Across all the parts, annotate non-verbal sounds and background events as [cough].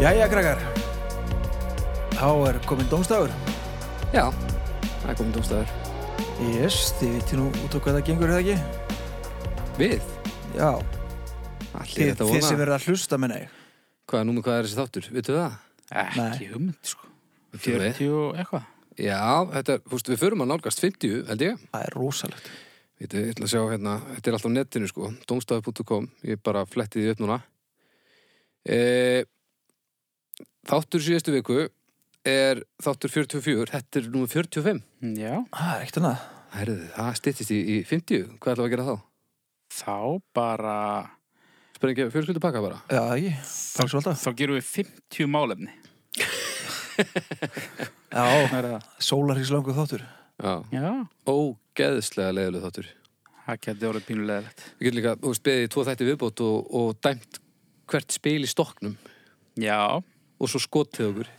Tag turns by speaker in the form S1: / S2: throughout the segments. S1: Jæja, krakkar. Þá er komin dómstafur.
S2: Já, það er komin tómstæður.
S1: Yes, þið viti nú út á hvað það gengur, eða ekki?
S2: Við?
S1: Já,
S2: Allir
S1: þið,
S2: þetta
S1: þið
S2: vona.
S1: sem verða að hlusta með neg.
S2: Hvað, númer hvað er þessi þáttur? Vittu það?
S1: Nei.
S3: Ekki hugmynd, sko.
S1: um
S2: Vittu það?
S3: 40 og eitthvað.
S2: Já, þetta, fúst, við förum að nálgast 50, held ég.
S1: Það er rosalegt.
S2: Vittu, ég ætla að sjá hérna, þetta er alltaf á netinu, sko. Dómstafur.com, ég bara fletti því upp núna. E, þáttur síðustu viku er þáttur 44, þetta er númer 45.
S3: Já,
S1: Það er eitt annað.
S2: Herðu, það styttist í, í 50, hvað ætla að gera þá?
S3: þá bara...
S2: Sprengja fjölskyldu pakka bara.
S1: Já, það ekki. Takk svo alltaf.
S3: Þá gerum við 50 málefni.
S1: Já,
S3: Það er það.
S1: sólarhís langu þáttur.
S2: Já,
S3: Já,
S2: ógeðslega leiðileg þáttur.
S3: það getur orðið pínulegilegt.
S2: Við getum líka, þú veist, beðið í tvo þætti viðbót og, og dæmt hvert spil í stokknum
S3: Já,
S2: og svo skotið okkur.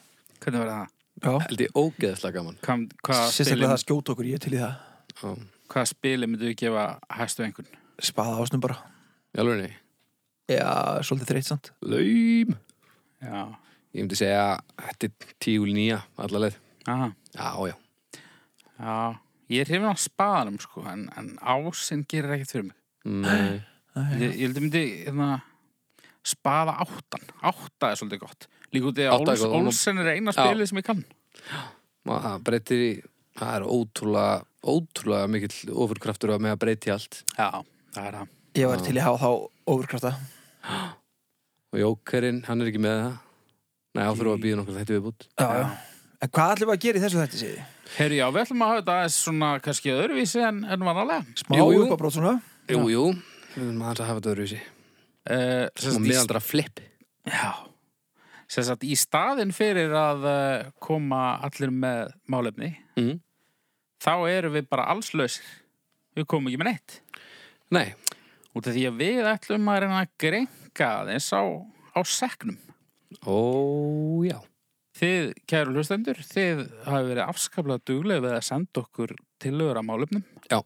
S3: hvernig verður það?
S1: Já.
S2: Held ég ógeðslega gaman.
S3: Hvað, hvað, spili,
S1: Sérstaklega það skjóta okkur, ég er til í það.
S2: Já,
S3: hvað spili myndu við gefa hæstu einhvern?
S1: Spaða ásnum bara.
S2: ég alveg nei.
S1: Já, svolítið þreytt samt.
S2: Laum!
S3: Já,
S2: Ég myndi segja að þetta er tíu úr nýja allarleið.
S3: aha,
S2: Já, já.
S3: já. Ég er hrifin á spaðanum, sko, en, en ásinn gerir ekkert fyrir mig.
S2: Nei.
S3: Ég, ég heldur myndi, hérna, spaða áttan. Átta er svolítið gott. Líka út í að
S2: Átta er
S3: Óls,
S2: gott, hún-
S3: Ólsen er eina
S2: Já.
S3: spilið sem ég kann.
S2: Ma- Það breytir í, það er ótrúlega, ótrúlega mikill ofurkraftur að með að breyti allt.
S3: Já, það er það.
S1: Ég var til í að hafa þá ofurkrafta.
S2: Og Jókerinn, hann er ekki með það. Nei, þá þurfum við að býða nokkur þetta viðbót.
S1: Já, já. En hvað ætlum við að gera í þessu þætti, séði?
S3: Herri, já, við ætlum að hafa þetta aðeins svona kannski öðruvísi en, en vanalega.
S1: Smá
S2: Jú, jú.
S1: uppabrót svona.
S2: Jú, jú. Við viljum aðeins að hafa þetta öðruvísi.
S3: Uh,
S2: Og miðaldra flipp.
S3: Já. Sem sagt, í staðin fyrir að uh, koma allir með málefni,
S2: Mm.
S3: þá erum við bara allslausir. Við komum ekki með neitt.
S2: Nei,
S3: Út af því að við ætlum að reyna að grenga aðeins á, á seknum.
S2: Ó, já.
S3: Þið, kæru hlustendur, þið hafi verið afskaplega duglega við að senda okkur tilögur að málefnum.
S2: Já.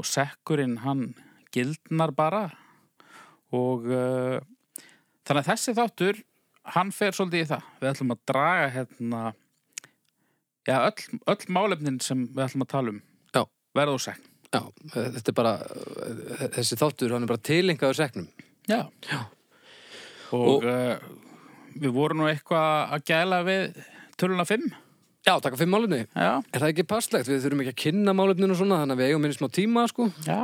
S3: Og sekkurinn hann gildnar bara og uh, þannig að þessi þáttur, hann fer svolítið í það. Við ætlum að draga hérna, já, öll, öll málefnin sem við ætlum að tala um.
S2: Já.
S3: Verða úr sekn.
S2: Já, e, þetta er bara, eh, þessi þáttur, hann er bara tilengaður seknum.
S3: Já. já. Og, uh, við vorum nú eitthvað að gæla við töluna 5.
S2: Já, taka fimm málefni.
S3: Já.
S2: Er það ekki passlegt? Við þurfum ekki að kynna málefninu og svona, þannig að við eigum minni smá tíma, sko.
S3: Já.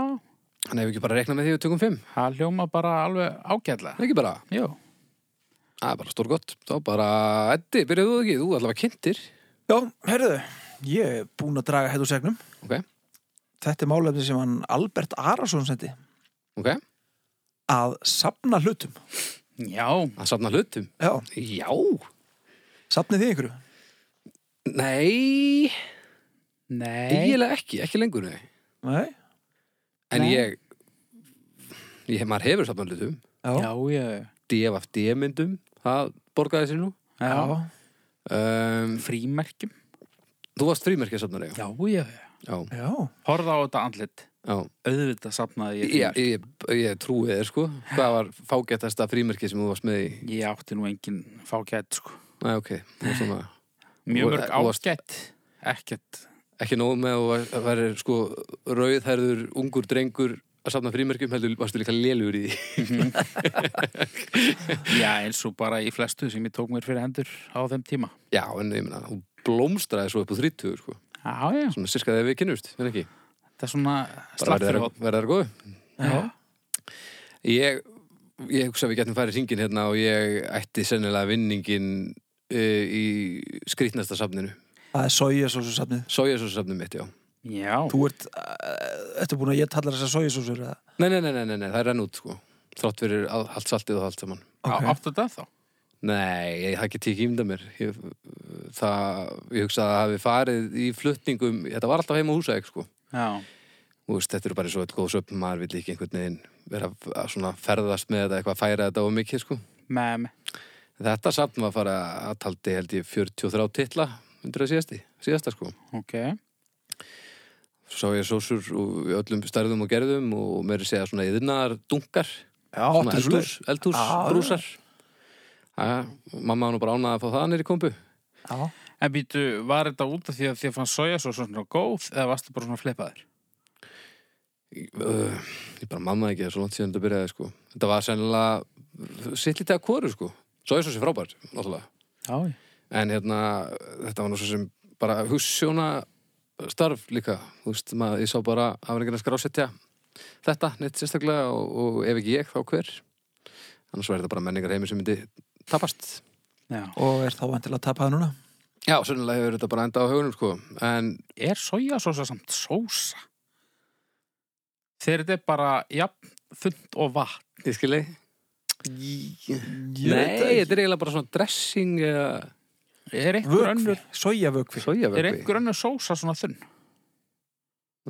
S2: Þannig að við ekki bara rekna með því við tökum fimm.
S3: Það hljóma bara alveg ágætlega.
S2: Ekki bara,
S3: Jú.
S2: það er bara stór gott. Þá bara, Eddi, byrjuðu þú ekki, þú allavega kynntir.
S1: Já, herruðu, ég er búin að draga hættu segnum.
S2: Ok,
S1: Þetta er málefni sem hann Albert Arason sendi
S2: ok,
S1: að sapna hlutum.
S3: Já,
S2: að safna hlutum.
S1: Já,
S2: Já,
S1: sapnið þið einhverju?
S2: nei,
S3: nei,
S2: eiginlega ekki, ekki lengur, nei.
S1: Nei.
S2: En
S3: Nei.
S2: ég, ég, maður hefur safna hlutum.
S1: Já.
S3: já, ég,
S2: DFFD myndum, það borgaði sér nú.
S3: já,
S2: Um,
S3: frímerkjum,
S2: þú varst frímerkjasafnari, já.
S3: já, ég,
S2: Já,
S1: Já.
S3: horða á þetta andlit,
S2: já.
S3: auðvitað safnaði ég,
S2: Já,
S3: frímerki.
S2: ég, ég trúi þér sko Hvað var fágættasta frímerki sem þú varst með í
S3: ég átti nú engin fágætt, sko,
S2: Næ, ok, þú varst svona
S3: mjög
S2: Og-
S3: mörg
S2: og varst-
S3: ágætt, ekkert,
S2: Ekki nóg með að þú væri sko Rauðherður, ungur drengur Að safna frímerkjum heldur, varstu líka lélugur í því
S3: já, eins og bara í flestu sem ég tók mér fyrir hendur á þeim tíma.
S2: [laughs] Já, en ég meina, hún blómstraði svo upp á 30 sko
S3: Já, já,
S2: Svona sirka þegar við kynnust, en ekki
S3: þetta er svona
S2: Bara verður
S3: slappfyrfótt.
S2: verður þær góðu
S1: Já.
S2: Ég, ég hugsa að við getum farið hringin hérna Og ég ætti sennilega vinningin uh, Í skrýtnasta safninu
S1: Það er sójasósu sapnið.
S2: Sójasósu safninu mitt, já
S3: Já,
S1: Þú ert, uh, ertu búin að ég tala þess að sójasósu eða?
S2: Nei, nei, nei, nei, nei, nei, það renn út sko Þrátt fyrir all- allt saltið og allt saman
S3: okay. áttu þetta þá?
S2: Nei, ég, það get ég ekki ímda mér ég, Það, ég hugsa að það hafi farið í flutningum Þetta var alltaf heima á húsæk sko
S3: Já,
S2: Þú veist, Þetta eru bara svo eitthvað söpn Maður vill ekki einhvern veginn vera að- að svona ferðast með þetta Eitthvað færa þetta á mikið sko
S3: með mig.
S2: Þetta samt var að fara að taldi held ég 43 titla Undir að síðasti, síðasta sko
S3: Ok,
S2: Svo sá ég sósur og í öllum stærðum og gerðum Og meiri segja svona yðnar dunkar
S1: Já,
S2: Svona
S1: áttu svo
S2: eldhús, eldhús
S1: Já, já.
S2: brúsar Æja, mamma var nú bara ánaði að fá það nýri kompu.
S1: Já.
S3: En býtu, var þetta út af því að því að fann soja svo svona góð eða varstu bara svona fleipaður?
S2: Ég, uh, ég bara mannaði ekki það er svo langt síðan þetta byrjaði, sko. Þetta var sennilega sittlítið að kóru, sko. Svo er svo sér frábært, náttúrulega.
S3: Já, já.
S2: En hérna, þetta var nú svo sem bara húsjóna starf líka. Þú veist, maður, ég sá bara afningin að skrásetja þetta, neitt sérstaklega, og, og ef ekki ég, þá hver. Annars var þetta bara menningar sem myndi tapast.
S3: Já.
S1: Og er þá vantilega að tapa það núna?
S2: Já, sennilega hefur þetta bara endað á hugunum, sko. En
S3: Er sojasósa samt sósa? Þegar þetta er bara jafn, þund og vatn.
S2: Ég skilji
S1: Ég veit
S2: Nei,
S1: það ekki.
S2: þetta er eiginlega bara svona dressing eða
S3: Er einhver
S1: Vökvi,
S3: önnur,
S1: sojavökvi
S3: er
S2: sojavökvi
S3: einhver önnur sósa svona þunn?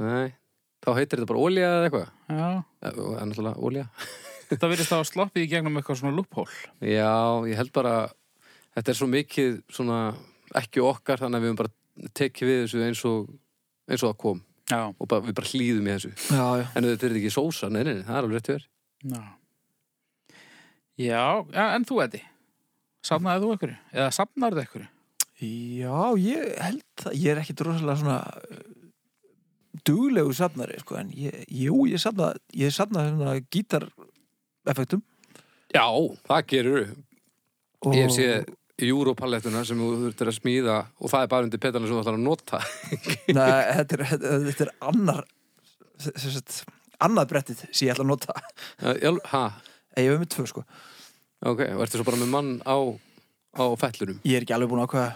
S2: Nei, þá heitir þetta bara olja eða eitthvað
S3: Já.
S2: Eh, og- En náttúrulega olja
S3: Þetta virðist að hafa sloppið í gegnum eitthvað svona loophole.
S2: Já, ég held bara Þetta er svo mikið svona ekki okkar þannig að við höfum bara tekið við þessu eins og eins og það kom
S3: Já.
S2: og bara, við bara hlýðum í þessu
S1: Já, já
S2: En þetta er ekki sósa, nei, nei, nei, það er alveg rétt hjá þér
S3: Já. Já, ja, en þú, Eddi? Safnaði þú einhverju? Eða safnar þú einhverju?
S1: Já, ég held það, ég er ekkit rosalega svona uh, duglegu safnari, sko, en ég, jú, ég safna, ég safna svona gítareffektum
S2: Já, það gerur
S1: og,
S2: Ég hef séð Europalettuna sem þú þurftir að smíða og það er bara undir petalina sem þú ætlar að nota
S1: Nei, þetta er, þetta, þetta er annar, sem sagt, annað brettið sem ég ætla að nota,
S2: Já, ha,
S1: ég hef með tvö, sko.
S2: Ok, og ertu svo bara með mann á, á fellunum?
S1: Ég er ekki alveg búin að ákveða,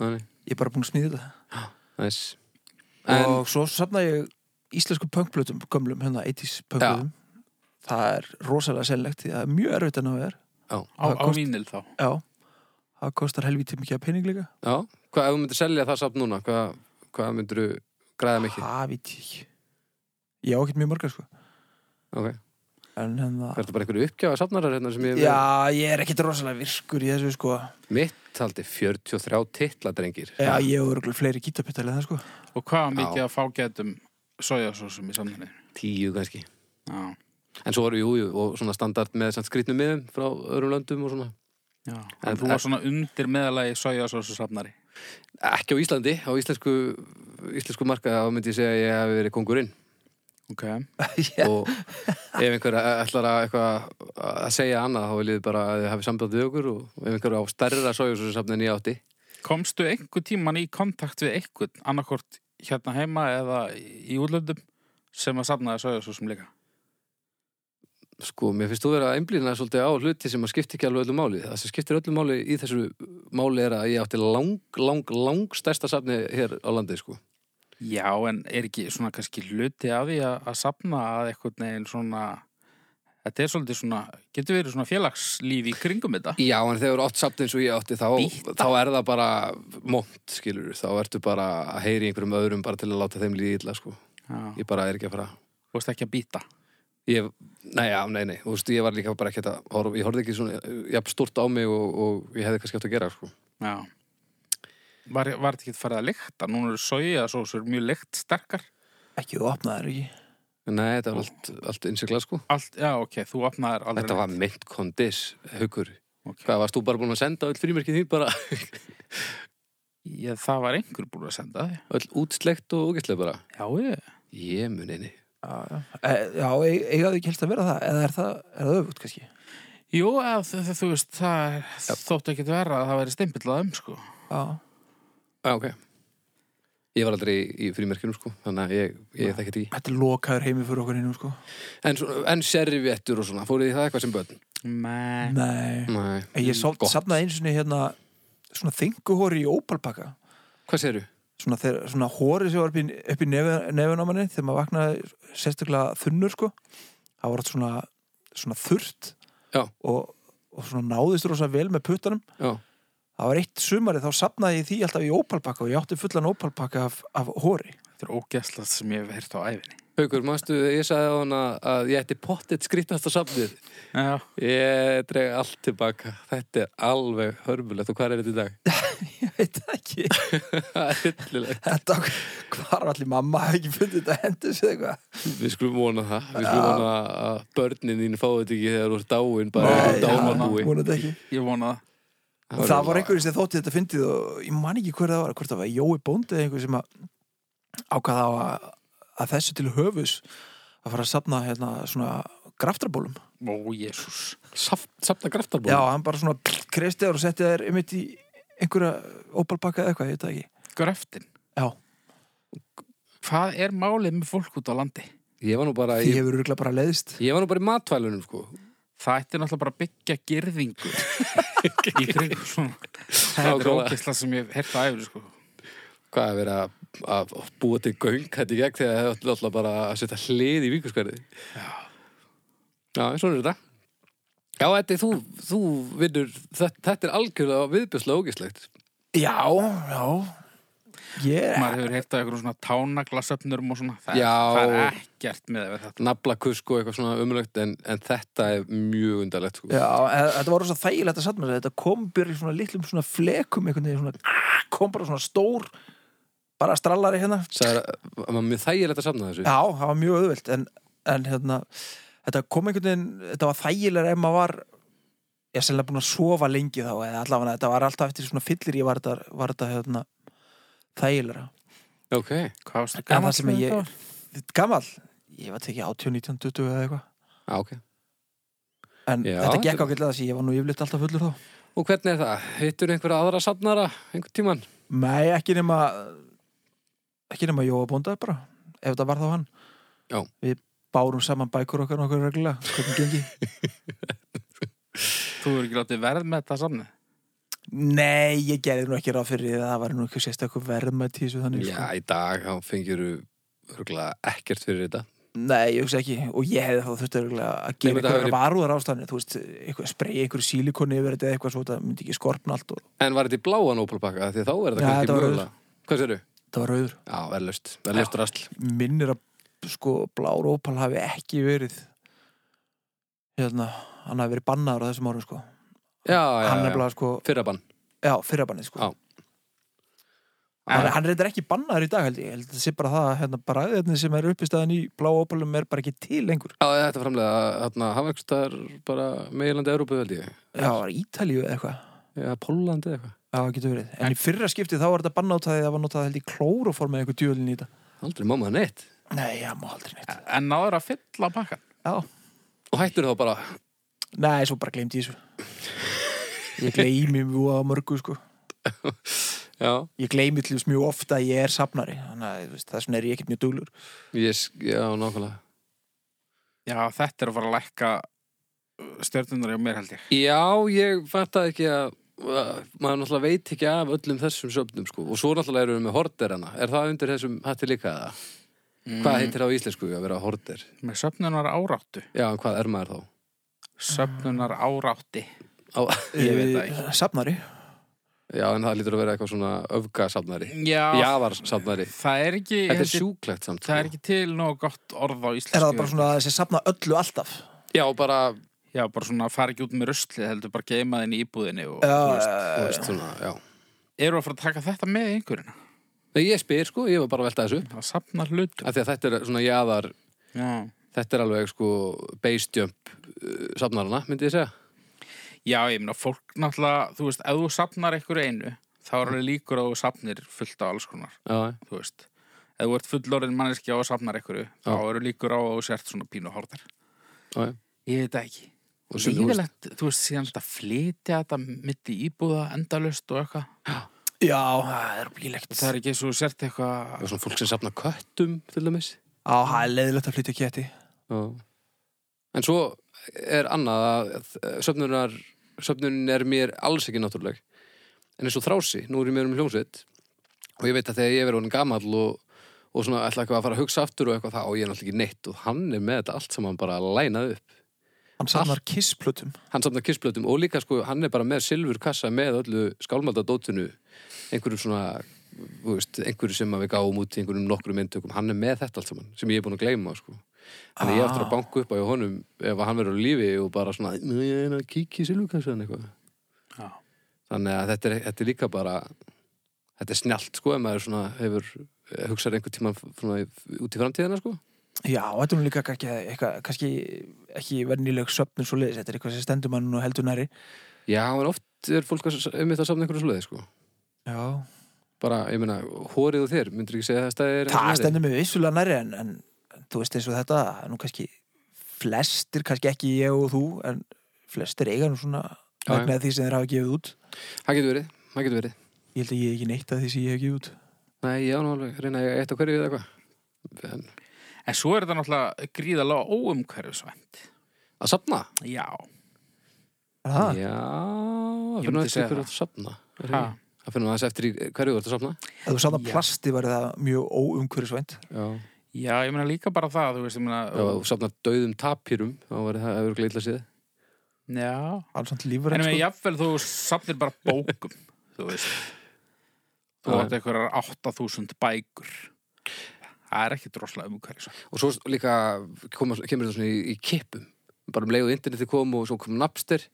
S2: Þannig,
S1: ég er bara búin að smíða þetta.
S2: næs. En,
S1: Og svo safna ég íslensku pöngblötum, gömlum, hérna, 80s pöngblötum. Það er rosalega sennlegt, því það er mjög erfitt að ná þér.
S2: já,
S3: Á,
S1: Það
S3: á
S1: kost-
S3: vínil þá.
S1: Já, það kostar helvítið mikið að pening líka.
S2: já, hvað, ef þú myndir selja það samt núna, hvað, hvað myndir þú græða mikið?
S1: Það veit ég ekki Ég á ekkert mjög margar sko
S2: Ok,
S1: En hérna
S2: hvað er bara einhverju uppgjáða safnarar hérna sem ég
S1: Já, ég er ekkert rosalega virkur í þessu sko
S2: Mitt taldi 43 titla, drengir.
S1: Já, ég hefur örugglega fleiri gítapitali en það sko
S3: Og hvað var
S2: Já.
S3: mikið að fá getum sojasósum í samnarnið?
S2: Tíu kannski.
S3: Já.
S2: En svo eru, jú, jú, og svona standart með samt skrýtnum miðum frá öðrum löndum og svona.
S3: Já.
S2: En-
S3: En þú var svona undir meðalagi sojasósu safnari.
S2: Ekki á Íslandi, á íslensku, íslensku markaði, þá myndi ég segja að ég hef verið kongurinn.
S3: Ok.
S1: Já,
S2: og ef einhver e, ætlar að, eitthvað að segja annað þá viljið þið bara að þið hafið samband við okkur og ef einhver á stærra sójúsursamni en ég átti
S3: Komstu einhver tíman í kontakt við einhvern annarkort hérna heima eða í útlöndum sem að safnaði sojasósum líka?
S2: sko, mér finnst þú vera að einblýna svolítið á hluti sem að skipti ekki alveg öllu máli það sem skiptir öllu máli í þessu máli er að ég átti lang, lang, lang stærsta safni hér á landi sko
S3: Já, en er ekki svona kannski hluti af því að, að safna að einhvern veginn svona Þetta er svolítið svona, getur verið svona félagslíf í kringum þetta?
S2: Já, en þegar eru oft safni eins og ég átti þá,
S3: Býta.
S2: þá er það bara mónt, skilur þá ertu bara að heyri einhverjum öðrum bara til að láta þeim líði illa sko.
S3: Já.
S2: ég bara er ekki að fara
S3: Þú veist ekki að býta.
S2: Ég, nei, já, nei, nei, þú veist, ég var líka bara ekki að horfa, ég horfði ekki svona, jafn stort á mig og, og ég hefði kannski átt að gera, sko.
S3: Já. Var, var þetta ekki farið að lykta? Núna eru sojasósur mjög lykt sterkar.
S1: ekki þú opnaðir ekki
S2: Nei, þetta var allt, allt innsiklað, sko.
S3: Allt, já, ok, þú opnaðir aldrei.
S2: Þetta var mynd kondis, haukur.
S3: Ok.
S2: Hvað, varst þú bara búin að senda öll frímerkið þín bara,
S3: Ég, það var einhver búin að senda því.
S2: öll útslegt og ógæstlega bara?
S3: Já, ég.
S2: Ég mun eini.
S1: Já, já, e, já e- eiga þau ekki helst að vera það Eða er það, er það öfugt kannski
S3: Jú, eða, þú, þú- þú veist, það ja. þóttu ekki vera að það væri steinbillað um, sko.
S1: Já,
S2: Já, Ah, ok. Ég var aldrei í, í frímerkinu, sko, þannig að ég, ég þekki þetta ekki.
S1: þetta er lokaður heimi fyrir okkur innum sko
S2: En, svona- en serviettur og svona, fóruð þið í það eitthvað sem börn?
S3: Nei.
S1: Nei,
S2: Nei.
S1: en ég sátt
S2: Gott.
S1: safnaði eins og hérna Svona þinguhóri í ópalpakka
S2: Hvað séru?
S1: Svona, þeir, svona hórið sem var upp í, upp í nefun, nefun á manni þegar maður vaknaði sérstaklega þunnur sko það var allt svona, svona þurrt
S2: Já.
S1: og, og svona náðist rosa vel með puttanum
S2: Já.
S1: það var eitt sumarið þá sapnaði ég því alltaf í ópalpakka og ég átti fullan ópalpakka af, af hóri
S3: Þetta er ógæslað sem ég hef heyrt á æfinni.
S2: Haukur, manstu, ég sagði á hana að ég ætti pottet skrýtnasta safnið.
S3: Já.
S2: Ég dreg allt tilbaka. Þetta er alveg hörmulegt og hvað er þetta í dag? [laughs]
S1: ég veit það ekki
S2: Það er hyllilegt.
S1: þetta, hvar var allir mamma hafði ekki fundið þetta hendis eða eitthvað
S2: Við skulum vona það. Við skulum
S1: Já.
S2: vona að börnin þín fái þetta ekki þegar þú ert dáin bara
S1: Nei,
S2: í dánarbúi.
S1: vonandi ekki
S3: Ég vona það.
S1: og það var einhverjum sem þótti þetta fyndið og ég man ekki hver það var, hvort það var Jói Bóndi eða einhver sem að ákvaða á að, að þessu til höfus að fara að safna hérna svona graftrabólum.
S3: Ó, jésús
S2: Saft, Safna
S1: Já,
S2: graftarból
S1: hann bara svona kreist eða og setti þær einmitt í einhverja opalbakka eða eitthvað, ég veit það ekki.
S3: Gröftin
S1: Já,
S3: Hvað er málið með fólk út á landi?
S2: Ég var nú bara
S1: því
S2: ég,
S1: hefur örgulega bara leiðist.
S2: ég var nú bara í matvælunum sko
S3: Það ætti náttúrulega bara að byggja girðingu í kringum svona Það er
S2: Nákvæmlega.
S3: ógæsla sem ég hef heyrt á æfri sko
S2: Hvað er verið að, að búa til göng þetta í gegn þegar það ætla alltaf bara að setja hlið í víkuskverði Já, svona er þetta Já, þetta er þú, þú vinnur þetta, þetta er algjörlega viðbjörslega ógislegt
S1: Já, já. Ég er
S3: Maður hefur heyrt á einhverjum svona tánaglasöfnurum og svona Það,
S2: Já.
S3: það er ekkert með þetta
S2: nafla kusk og eitthvað svona umlögt en, en þetta er mjög undarlegt sko.
S1: Já, e- þetta var rosa þægilegt að satna þetta kom byrja í svona litlum svona flekum einhvern veginn svona ah, kom bara svona stór bara strallari hérna
S2: Sagði að að maður mjög þægilegt að safna þessu
S1: Já, það var mjög auðvelt en, en hérna, þetta kom einhvern veginn þetta var þægilega ef maður var ég er sérlega búin að sofa lengi þá eða allavega þetta var alltaf eftir svona fyllir ég var þetta, var þetta hérna, þægilega
S2: Ok,
S3: Hvað varstu
S1: En
S3: gamall
S1: það sem
S3: þegar
S1: ég-
S3: þetta var?
S1: Gammal, ég var tekið 18, 19, 20 eða eitthvað
S2: já ok
S1: en
S2: Já,
S1: þetta gekk
S2: þetta-
S1: ágætlega þess að ég var nú yfirleitt alltaf fullur þá
S2: Og hvernig er það? Hittur einhverja aðra safnara einhvern tíman?
S1: Nei, ekki nema ekki nema Jóa Bónda bara ef þetta var þá hann
S2: Já.
S1: Við bárum saman bækur okkar nokkur reglulega hvernig gengi
S3: Þú hefur ekki látið verð með þetta samni
S1: Nei, ég gerði nú ekki ráð fyrir því að það var nú ekki sérstakku verðmætt í þessu þannig sko.
S2: Já, í dag þá fengir örgulega ekkert fyrir þetta
S1: Nei, ég hugsa ekki og ég hefði þá þurfti örugglega að
S2: Nei,
S1: gera
S2: menn, það
S1: eitthvað
S2: hefði-
S1: varúðar ástæðan þú veist, eitthvað, spreyi einhverju sílikonni yfir þetta eða eitthvað svo, það myndi ekki skorpna allt og
S2: En var þetta í bláan ópálpakka? Því þá er
S1: Já,
S2: þetta
S1: þetta
S2: kannski
S1: var
S2: mögulega Hvað sér
S1: það var rauður.
S2: Já, verðlust, verðlust rastl
S1: Minnir að sko blár ópal hafi ekki verið hérna, hann hafi verið bannaður á þessum árum sko.
S2: Já, já,
S1: hann
S2: já, já.
S1: nefnilega sko,
S2: fyrrabann
S1: já, fyrrabannið sko
S2: Já.
S1: Hann, hann reyndar ekki bannaður í dag held ég, ég held að það sé bara það að hérna, bara þetta sem er uppistæðan í blá opalum er bara ekki til lengur.
S2: Já, þetta framlega, þarna, hafa einhvers staðar bara meilandi Európu held ég
S1: Já, það var Ítalíu eða eitthvað.
S2: Já, Pólandi eða eitthvað
S1: Já, það getur verið. En í fyrra skipti þá var þetta banna út að því að það var notað held í klóroform eða eitthvað djúvelin í þetta.
S2: Aldrei mamma neitt
S1: Nei, já, má aldrei neitt.
S3: En náður að fylla pakkan
S1: Já.
S2: Og hættur þá bara
S1: Nei, svo bara gleymdi ég þessu. Ég gleymi mjög að mörgu, sko.
S2: Já,
S1: Ég gleymi til þess mjög ofta að ég er safnari. Þannig að þú veist, þess vegna er ég ekkert mjög duglur.
S2: ég, s- já, nákvæmlega
S3: Já, þetta er að fara að lækka stjörnunar hjá mér held ég
S2: Já, ég fattaði ekki að að maður náttúrulega veit ekki af öllum þessum söfnum sko. og svo náttúrulega erum við með horderana er það undir þessum hætti líka eða? Hvað
S1: Mm.
S2: heitir það á íslensku að vera horder?
S3: Með söfnunar áráttu
S2: Já, en hvað er maður þá?
S3: Söfnunar árátti
S2: Á,
S3: Ég veit það ekki.
S1: Safnari.
S2: já, en það lítur að vera eitthvað svona öfgasafnari
S3: Já,
S2: javarsafnari
S3: það er ekki
S2: Þetta er
S3: held ég-
S2: sjúklegt samt
S3: Það er
S2: sko.
S3: ekki til nóg gott orð á íslensku
S1: Er það bara svona að þessi safna öllu alltaf?
S2: Já, bara,
S3: Já, bara svona fara ekki út með ruslið heldur bara geima þinn í íbúðinni og
S1: Já,
S3: þú veist,
S2: þú
S1: já, já.
S2: veist svona, já
S3: eru að fara að taka þetta með í einhverjina
S2: Nei, ég spyr sko, ég var bara að velta þessu
S3: að safna hlutum
S2: af því að þetta er svona jaðar
S3: Já,
S2: þetta er alveg sko basejump uh, safnarana, myndi ég segja
S3: Já ég meina fólk náttúrulega, þú veist, ef þú safnar einhverju einu þá er alveg líkur að þú safnir fullt af alls konar,
S2: Já,
S3: þú veist ef þú ert fullorinn manneskja og safnar einhverju þá eru líkur á að þú sért svona pínu hórtar
S2: já, já
S3: Ég veit það ekki
S2: Og sem- þú veist-
S3: Lífilegt, þú veist, síðan þetta flytja þetta mitt í íbúða endalust og eitthvað
S1: Já, það er bílegt.
S3: það er ekki eins og þú sért eitthvað
S2: Og svona fólk sem safna köttum til dæmis
S1: Á, það er leiðilegt að flytja ketti.
S2: Já. En svo er annað að eh, söfnunar, söfnunin er mér alls ekki náttúruleg. En eins og þrási, nú er ég mér um hljómsveit og ég veit að þegar ég verið honum gamall og, og svona ætla eitthvað að fara að hugsa aftur og eitthvað þá og ég er náttúrulega ekki neitt og hann er með þetta allt saman bara lænað upp.
S1: Hann safnar kissplötum.
S2: Hann safnar kissblötum og líka sko hann er bara með silfur kassa með öllu skálmaldadótinu einhverjum svona þú veist, einhverju sem að við gáum út í einhverjum nokkrum eintökum, hann er með þetta allt saman sem ég er búin að gleyma sko. Þannig ég eftir
S1: Ah.
S2: að banka upp á hjá honum ef hann verður á lífi og bara svona, "Nú, ég er að kíkja í silvukassan eitthvað.
S3: Já.
S2: Þannig að þetta er, þetta er líka bara, þetta er snjált sko, ef maður svona hefur, hugsaður einhvern tíma svona, út í framtíðina sko.
S1: Já, þetta er nú líka ekki, eitthvað, kannski ekki verðnileg söfnun svo leiðis. Þetta er eitthvað sem stendur mann og heldur næri.
S2: Já, en oft oft er fólk að s- einmitt að safna einhverju svoleiði sko.
S1: já,
S2: bara, ég meina, hórið og þér myndir ekki segja að það stæði er
S1: það stendur mig vissulega næri en, en, en þú veist eins og þetta það er nú kannski flestir, kannski ekki ég og þú en flestir eiga nú svona
S2: Já, já.
S1: vegna því sem þeir hafa gefið út
S2: það getur verið, það getur verið
S1: ég held að ég hef ekki neitt að því sem ég hef gefið út
S2: nei, já, nú alveg, reyna að eiga eitt á hverju eða eitthvað En
S3: En svo er þetta náttúrulega gríðalega óumhverfisvænt.
S2: að safna
S3: Já.
S1: er það?
S2: já, að
S3: Ég
S2: finna
S3: myndi
S2: þess
S3: segja
S2: eftir
S3: það.
S2: að safna Er
S3: Ha.
S2: það ekki? að finna þess eftir í hverju þú ert að safna
S1: Ef þú samt að
S3: Já.
S1: plasti var það mjög óumhverfisvænt
S2: já,
S3: Já, ég meina líka bara það, þú veist, ég meina...
S2: já og safna döðum tapýrum þá var það öðru gleitla síð
S3: Já.
S1: alls samt
S3: En
S1: lífræn
S3: ég meina,
S1: sko.
S3: jafnvel þú safnir bara bókum, [laughs] þú veist. Þú
S2: Já.
S3: átt einhverjar 8000 bækur. Það er ekki droslega umhverfisvænt.
S2: og svo líka koma, kemur þetta svona í, í kippum bara um leiðu interneti kom og svo kom Napster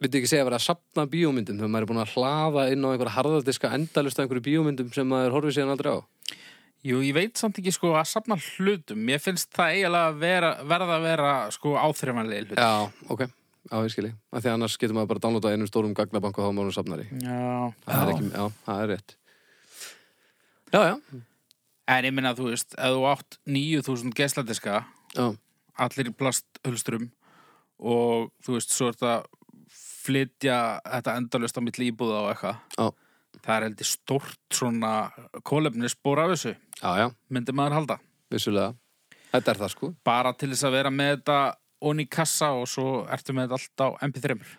S2: myndi ekki segja að vera að safna bíómyndum þegar maður er búin að hlaða inn á einhverja harðardiska endalust af einhverju bíómyndum sem maður horfið síðan aldrei á
S3: Jú, ég veit samt ekki sko að safna hlutum. Mér finnst það eiginlega að vera, verða að vera sko áþreifanlega hlut.
S2: Já, ok, á ég skilji af því að annars getur maður bara að downloada einum stórum gagnabanku og þá maður safnar í
S3: Já.
S2: það er
S1: Já.
S2: ekki, já, það er rétt Já, já,
S3: En ég meina, þú veist, ef þú átt 9000 gesladiska,
S2: já,
S3: allir í plasthulstrum og þú veist, svo er þetta flytja þetta endalust á milli íbúða og eitthvað
S2: Já.
S3: það er heldur stórt svona kólefni spór af þessu,
S2: já, já,
S3: myndi maður halda
S2: vissulega Þetta er það sko
S3: bara til þess að vera með þetta onni í kassa og svo ertu með þetta allt á MP3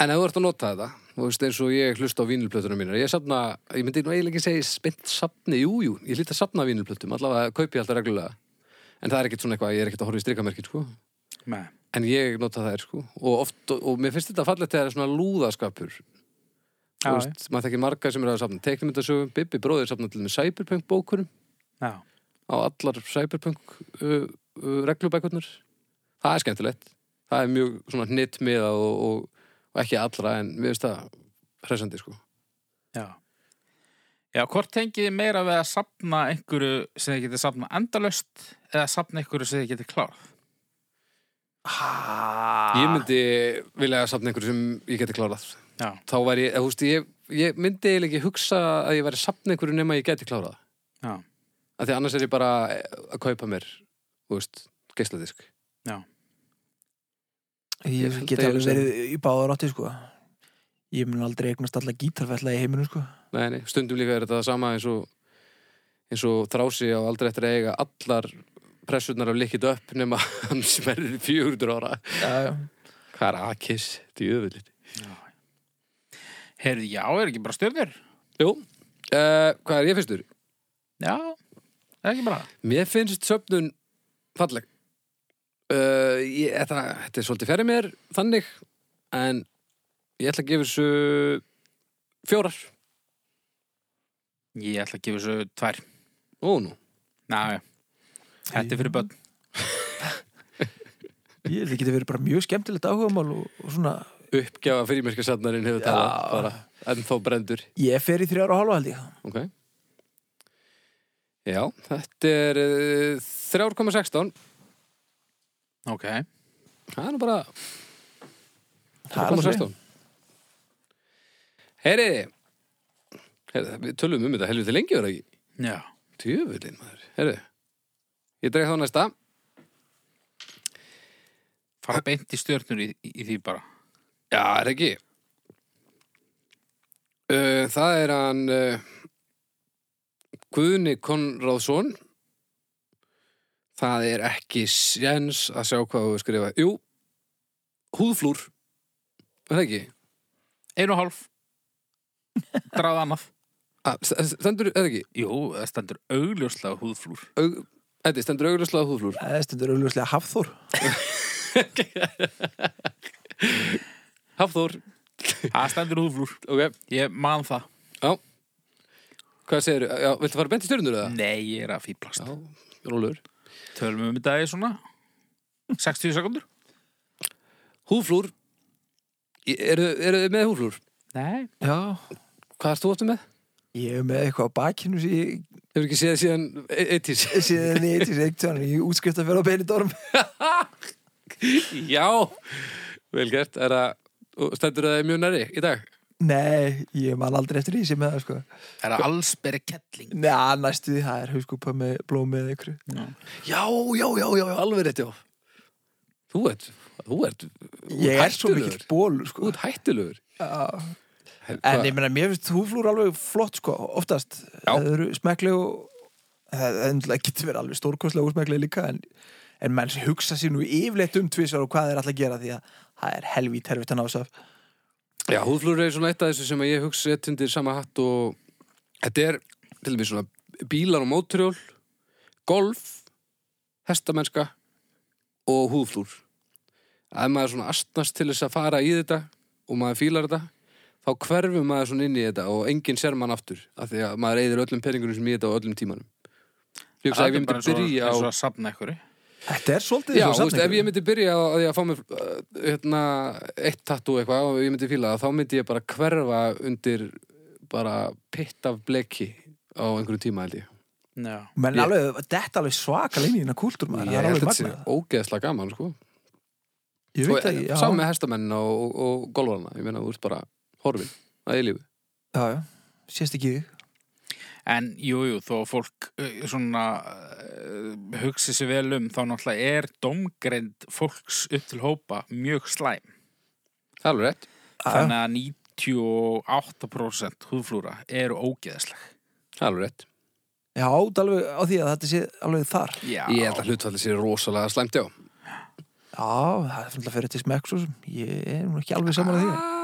S2: En ef þú ert að nota þetta, þú veist eins og ég hlusta á vínilplötunum mínar, ég safna, ég myndi nú eiginlega ekki segja spennt safni, jú, jú, ég hlýtt að safna vínilplötum, allavega kaupi ég alltaf reglulega. En það er ekkert svona eitthvað, ég er ekkert að horfa í strikamerkin, sko.
S3: með
S2: En ég nota þær, sko. Og oft, og mér finnst þetta fallegt þegar það er svona lúðaskapur. Þú
S3: Já,
S2: veist, maður þekkir marga sem eru að safna teiknumyndasögum, Bibbi bróðir safna til með cyberpunk bókurum
S3: já.
S2: á allar cyberpunk uh, uh, reglubækurnar. Það er skemmtilegt. Það er mjög svona hnittmiða og, og, og ekki allra en við veist það hressandi sko.
S3: já já, hvort tengið þið meira við að sapna einhverju sem þið getið sapna endalust eða sapna einhverju sem þið getið klárað
S1: Ha.
S2: Ég myndi vilja safna einhverju sem ég geti klárað.
S3: já,
S2: Þá væri ég, eða, þú veist, ég, ég myndi eiginlega ekki hugsa að ég væri safna einhverju nema ég geti klárað.
S3: já,
S2: Af því annars er ég bara að kaupa mér, þú veist, geisladisk.
S1: ég
S2: held
S1: get
S2: að ég
S1: alveg
S2: sé-
S1: verið í báðar átti sko. ég mun aldrei eignast alla gítarfælla í heiminu sko.
S2: Nei, nei, stundum líka er þetta það sama eins og, eins og þrási á aldrei eftir að eiga allar pressurnar af likkið upp nema [laughs] hann sem er 400 ára.
S1: já, já.
S2: Hvað er akis? Þetta er jöfnvillit.
S3: já. heyrðu, já, er ekki bara stjörnir
S2: Jú, uh, hvað er ég fyrstur?
S3: Já, það er ekki bara
S2: Mér finnst söfnun falleg. Uh, ég, þetta, þetta er svolítið færið mér þannig, en ég ætla að gefa þessu fjórar.
S3: Ég ætla að gefa þessu tvær
S2: Ó, nú.
S3: Ná, já. Þetta er fyrir börn
S1: Ég held að geta verið bara mjög skemmtilegt áhugamál og, og svona,
S2: Uppgjafa fyrirmerkasafnarinn hefur talað
S1: Já.
S2: bara, en þá brendur.
S1: ég fer í þrjára og halva held ég
S2: Ok. Já, þetta er uh, 3,16.
S3: Ok,
S2: Það er nú bara
S1: Það er alveg.
S2: 3,16. Heyriði, Heyri, við tölum um þetta helviti lengi verið ekki.
S3: já
S2: Tjöfullin maður, herru Ég dreig þá næsta
S3: Fara beint í stjörnur í, í, í því bara
S2: Já, er ekki uh, Það er hann uh, Guðni Konráðsson Það er ekki sjens að sjá hvað þú skrifa Jú, húðflúr Er það ekki?
S3: Einu og hálf Dráð annað
S2: Ah, st- Stendur, er það ekki?
S3: Jú, það stendur augljóslega húðflúr
S2: Aug, Eddi, stendur augljóslega húðflúr
S1: Það er stundur augljóslega hafþór
S3: [laughs]
S2: Hafþór,
S3: Það stendur húðflúr
S2: ok,
S3: Ég man það
S2: hvað segirðu? Já, viltu fara bent í stjörnur eða?
S3: Nei, ég er að fýblast
S2: Já, rólur
S3: Tölum við um þetta í svona 60 sekundur
S2: Húflúr Eru eru þið með húflúr?
S3: Nei
S1: Já,
S2: Hvað erst þú aftur með?
S1: ég er með eitthvað á bakinu sem ég
S2: Hefur ekki séð síðan e, 80s
S1: síðan ég eitthvað eitt þannig ég útskrift að vera á Benidorm
S2: Já, vel gert Er það og stendur það mjög næri í dag
S1: Nei, ég man aldrei eftir ísi með það sko
S3: Það er allsberi kettling
S1: Nei, næstu því, það er hauskúpa með blómið eða ykkur
S2: Já, já, já, já, já, alveg rétt, já Þú ert, þú ert þú
S1: Ég er
S2: ert
S1: svo mikill ból sko
S2: Þú ert hættulegur
S1: Já.
S2: Hel-
S1: En
S2: hvað-
S1: ég meina, mér finnst húflúr alveg flott sko, oftast
S2: Já.
S1: Það eru smekkleg og það það er náttúrulega getur verið alveg stórkostlega úsmekkleg líka en, en menn hugsa sér nú yfirleitt um tvisvar og hvað er alltaf að gera því að það er helvít herfitt að ná svo
S2: Já, húðflúr er svona eitt af þessu sem að ég hugsa eitt undir sama hatt og þetta er til dæmis svona bílar og mótrjól, golf, hestamennska og húðflúr. Ef maður svona astnast til þess að fara í þetta og maður fílar þetta, þá hverfur maður svona inn í þetta og enginn sér mann aftur af því að maður eyðir öllum peningunum sem í þetta og öllum tímanum. Ég hugsa ef ég myndi byrja á...
S3: eins og að safna ykkur
S1: Þetta er svolítið
S2: Já,
S1: eins og
S2: þú veist, ef
S1: safningur.
S2: ég myndi byrja á að ég að fá mér uh, hérna, eitt tattoo eitthvað og ég myndi fíla það, þá myndi ég bara hverfa undir bara pitt af bleki á einhverju tíma held ég.
S3: Já
S1: menn
S2: Ég-
S1: alveg, þetta er alveg svaka línið innan kúltúr maður, það er alveg
S2: sé
S1: magnað
S2: ógeðslega gaman, sko. eh,
S1: Ég veit það, já,
S2: Sá með hestamenn og, og, og golvarna, ég meina, þú ert bara horfin að eilífu.
S1: já, já, sést ekki þig
S3: En jú, jú, þó að fólk uh, svona uh, hugsi sér vel um þá náttúrulega er domgreind fólks upp til hópa mjög slæm.
S2: Það er alveg rétt.
S1: Já,
S3: Þannig að 98% húðflúra eru ógeðsleg.
S2: Það er alveg rétt.
S1: já, það er alveg á því að þetta sé alveg þar
S3: Já.
S2: Ég held að hlutfallið sér rosalega slæmt, já.
S1: Já, það er fyrir fyrir til smekk svo sem ég er nú ekki alveg saman að því
S2: Ah,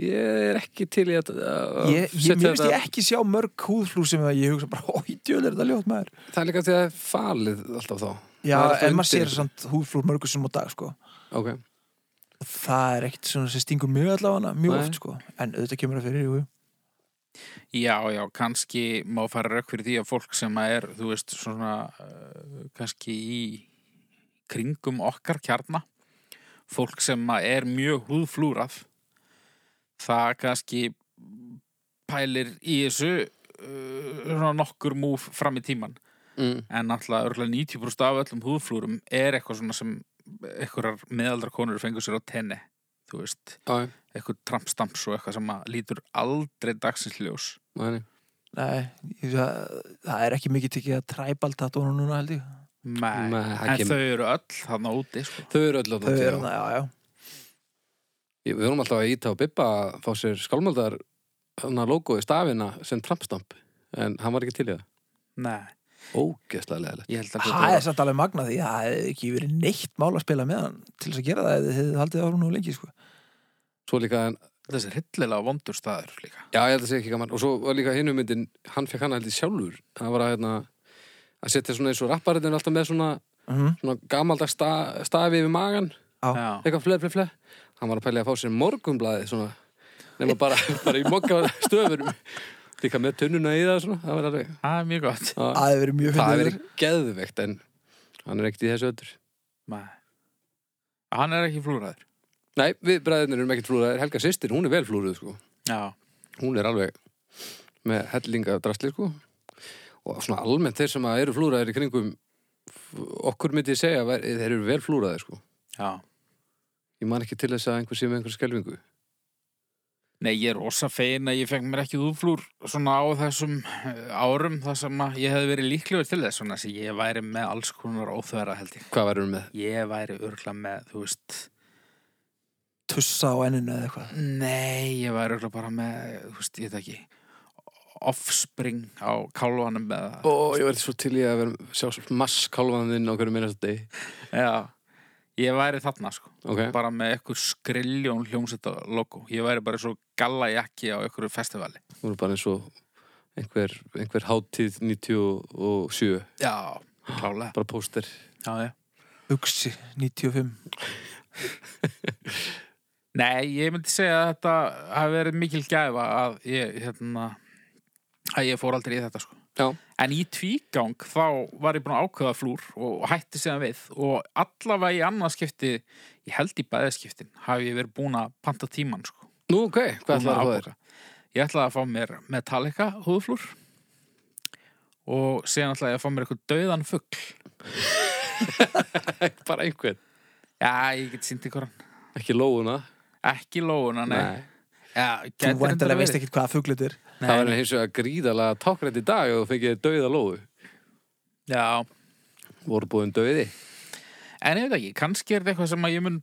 S2: Ég er ekki til í að, að að
S1: Ég, ég,
S2: setja
S1: mér finnst
S2: þetta-
S1: ég ekki sjá mörg húðflúr sem að ég hugsa bara, ói, djöl er þetta ljótt maður
S2: Það er líka því að það er falið alltaf þá.
S1: Já,
S2: Það er alltaf
S1: en maður
S2: undir.
S1: sér samt húðflúr mörgur sem á dag, sko
S2: Ok.
S1: Og Það er ekkert svona sem stingur mjög allavega mjög
S2: Nei.
S1: oft, sko, en auðvitað kemur það fyrir jú. jú.
S3: já, já, kannski má fara rauk fyrir því að fólk sem að er, þú veist, svona uh, kannski í kringum okkar kjarna, fólk sem að er mjög húðflúrað, það kannski pælir í þessu uh, svona nokkur múf fram í tíman.
S2: Mm.
S3: en náttúrulega örgulega 90% af öllum húðflúrum er eitthvað svona sem einhverjar meðaldra konur fengur sér á tenni þú veist,
S2: Já, já.
S3: eitthvað trampstamps og eitthvað sem að lítur aldrei dagsins ljós
S2: Nei, nei.
S1: Nei, ég, það, það er ekki mikið tekið að træbalt tattóna núna, held ég
S3: Nei,
S2: Nei, það
S3: en
S2: kemur.
S3: þau eru öll þarna úti sko.
S2: Þau eru öll
S1: Þau
S2: átnátt,
S1: eru
S2: já.
S1: það, já, já
S2: Ég- Við vorum alltaf að íta á Bibba að fá sér skálmöldar hana logo í stafina sem trampstamp en hann var ekki til í það.
S3: Nei,
S2: Ógeðslega leðilegt.
S3: ég held að
S1: Það er samt alveg magna því að það hefði ekki verið neitt mál að spila með hann til þess að gera það eða þið hefði haldið árum nú lengi sko.
S2: Svo líka, en,
S3: þessi hryllilega vondur staður líka
S2: já ég held að segja ekki gaman og svo var líka hinnum myndin, hann fekk hana heldur sjálfur hann var að, hérna, að setja svona eins og rapparitin alltaf með svona,
S1: Mhm.
S2: svona gamaldags sta, stafi yfir magan
S3: Já,
S2: eitthvað fleð, fleð, fleð hann var að pælja að fá sér morgunblaði svona, nema bara, [laughs] bara í mokka stöfurum líka með tunnuna í það svona, það var alveg
S3: það er mjög gott
S2: Já.
S1: Það hefði verið mjög
S2: Það
S1: fyndið
S2: hefur
S1: verið...
S2: verið geðveikt en hann er ekkert í þessu öldur.
S3: Nei. Hann er ekki flúraður
S2: Nei, við bræðinir erum ekkert flúraðir. Helga sýstir, hún er vel flúruð sko.
S3: Já,
S2: Hún er alveg með hellinga drastli sko. Og svona almennt þeir sem að eru flúraðir í kringum okkur myndi ég segja að þeir eru vel flúraðir sko.
S3: já
S2: Ég man ekki til þess að einhver sé með einhver skelvingu.
S3: Nei, ég er ósa fegin að ég fekk mér ekki húðflúr svona á þessum eh, árum þar sem að ég hefði verið líklegur til þess svona sem ég væri með alls konar óþverra held ég.
S2: Hvað verður með?
S3: Ég væri örgla með, þú veist,
S1: tussa á enninu eða eitthvað
S3: nei, ég væri örgla bara með, þú veist, ég veit ekki, offspring á kálvanum með það.
S2: Ó, ég verði svo til ég að vera sjá svo masskálvan þinn á hverju minnast degi.
S3: Já, ég væri þarna sko,
S2: Ok,
S3: bara með eitthvað skriljón hljómsetta logo. Ég væri bara svo gallajakki á einhverju festivali.
S2: þú eru bara eins og einhver, einhver hátíð 97,
S3: Já, klálega.
S2: bara póster.
S3: Já, já.
S1: Uxi, 95
S3: Nei, ég myndi segja að þetta hafi verið mikil gæfa að ég, hérna, að ég fór aldrei í þetta sko.
S2: Já.
S3: En í tvígang þá var ég búin að ákveða flúr og hætti síðan við og allavega í annað skipti, ég held í bæðaskiptin, hafi ég verið búin að panta tíman sko.
S2: Nú, ok, hvað
S3: Búin
S2: ætlar að fá þér?
S3: afbóka. Ég ætlaði að fá mér Metallica húðflúr og síðan ætlaði ég að fá mér eitthvað dauðan fugl.
S2: Bara einhver.
S3: Já, ég get sýnt ykkur hann.
S2: Ekki lóuna.
S3: Ekki lóuna, nei.
S2: Nei.
S3: Já,
S1: Þú
S3: gæti reyndar
S1: væntalega veist
S3: verið.
S1: ekkert hvaða fuglut er
S2: Það var hins vegar gríðalega tákrænt í dag og þú fengið dauða lóðu.
S3: Já,
S2: Voru búin dauði.
S3: en ég veit ekki, kannski er þetta eitthvað sem að ég mun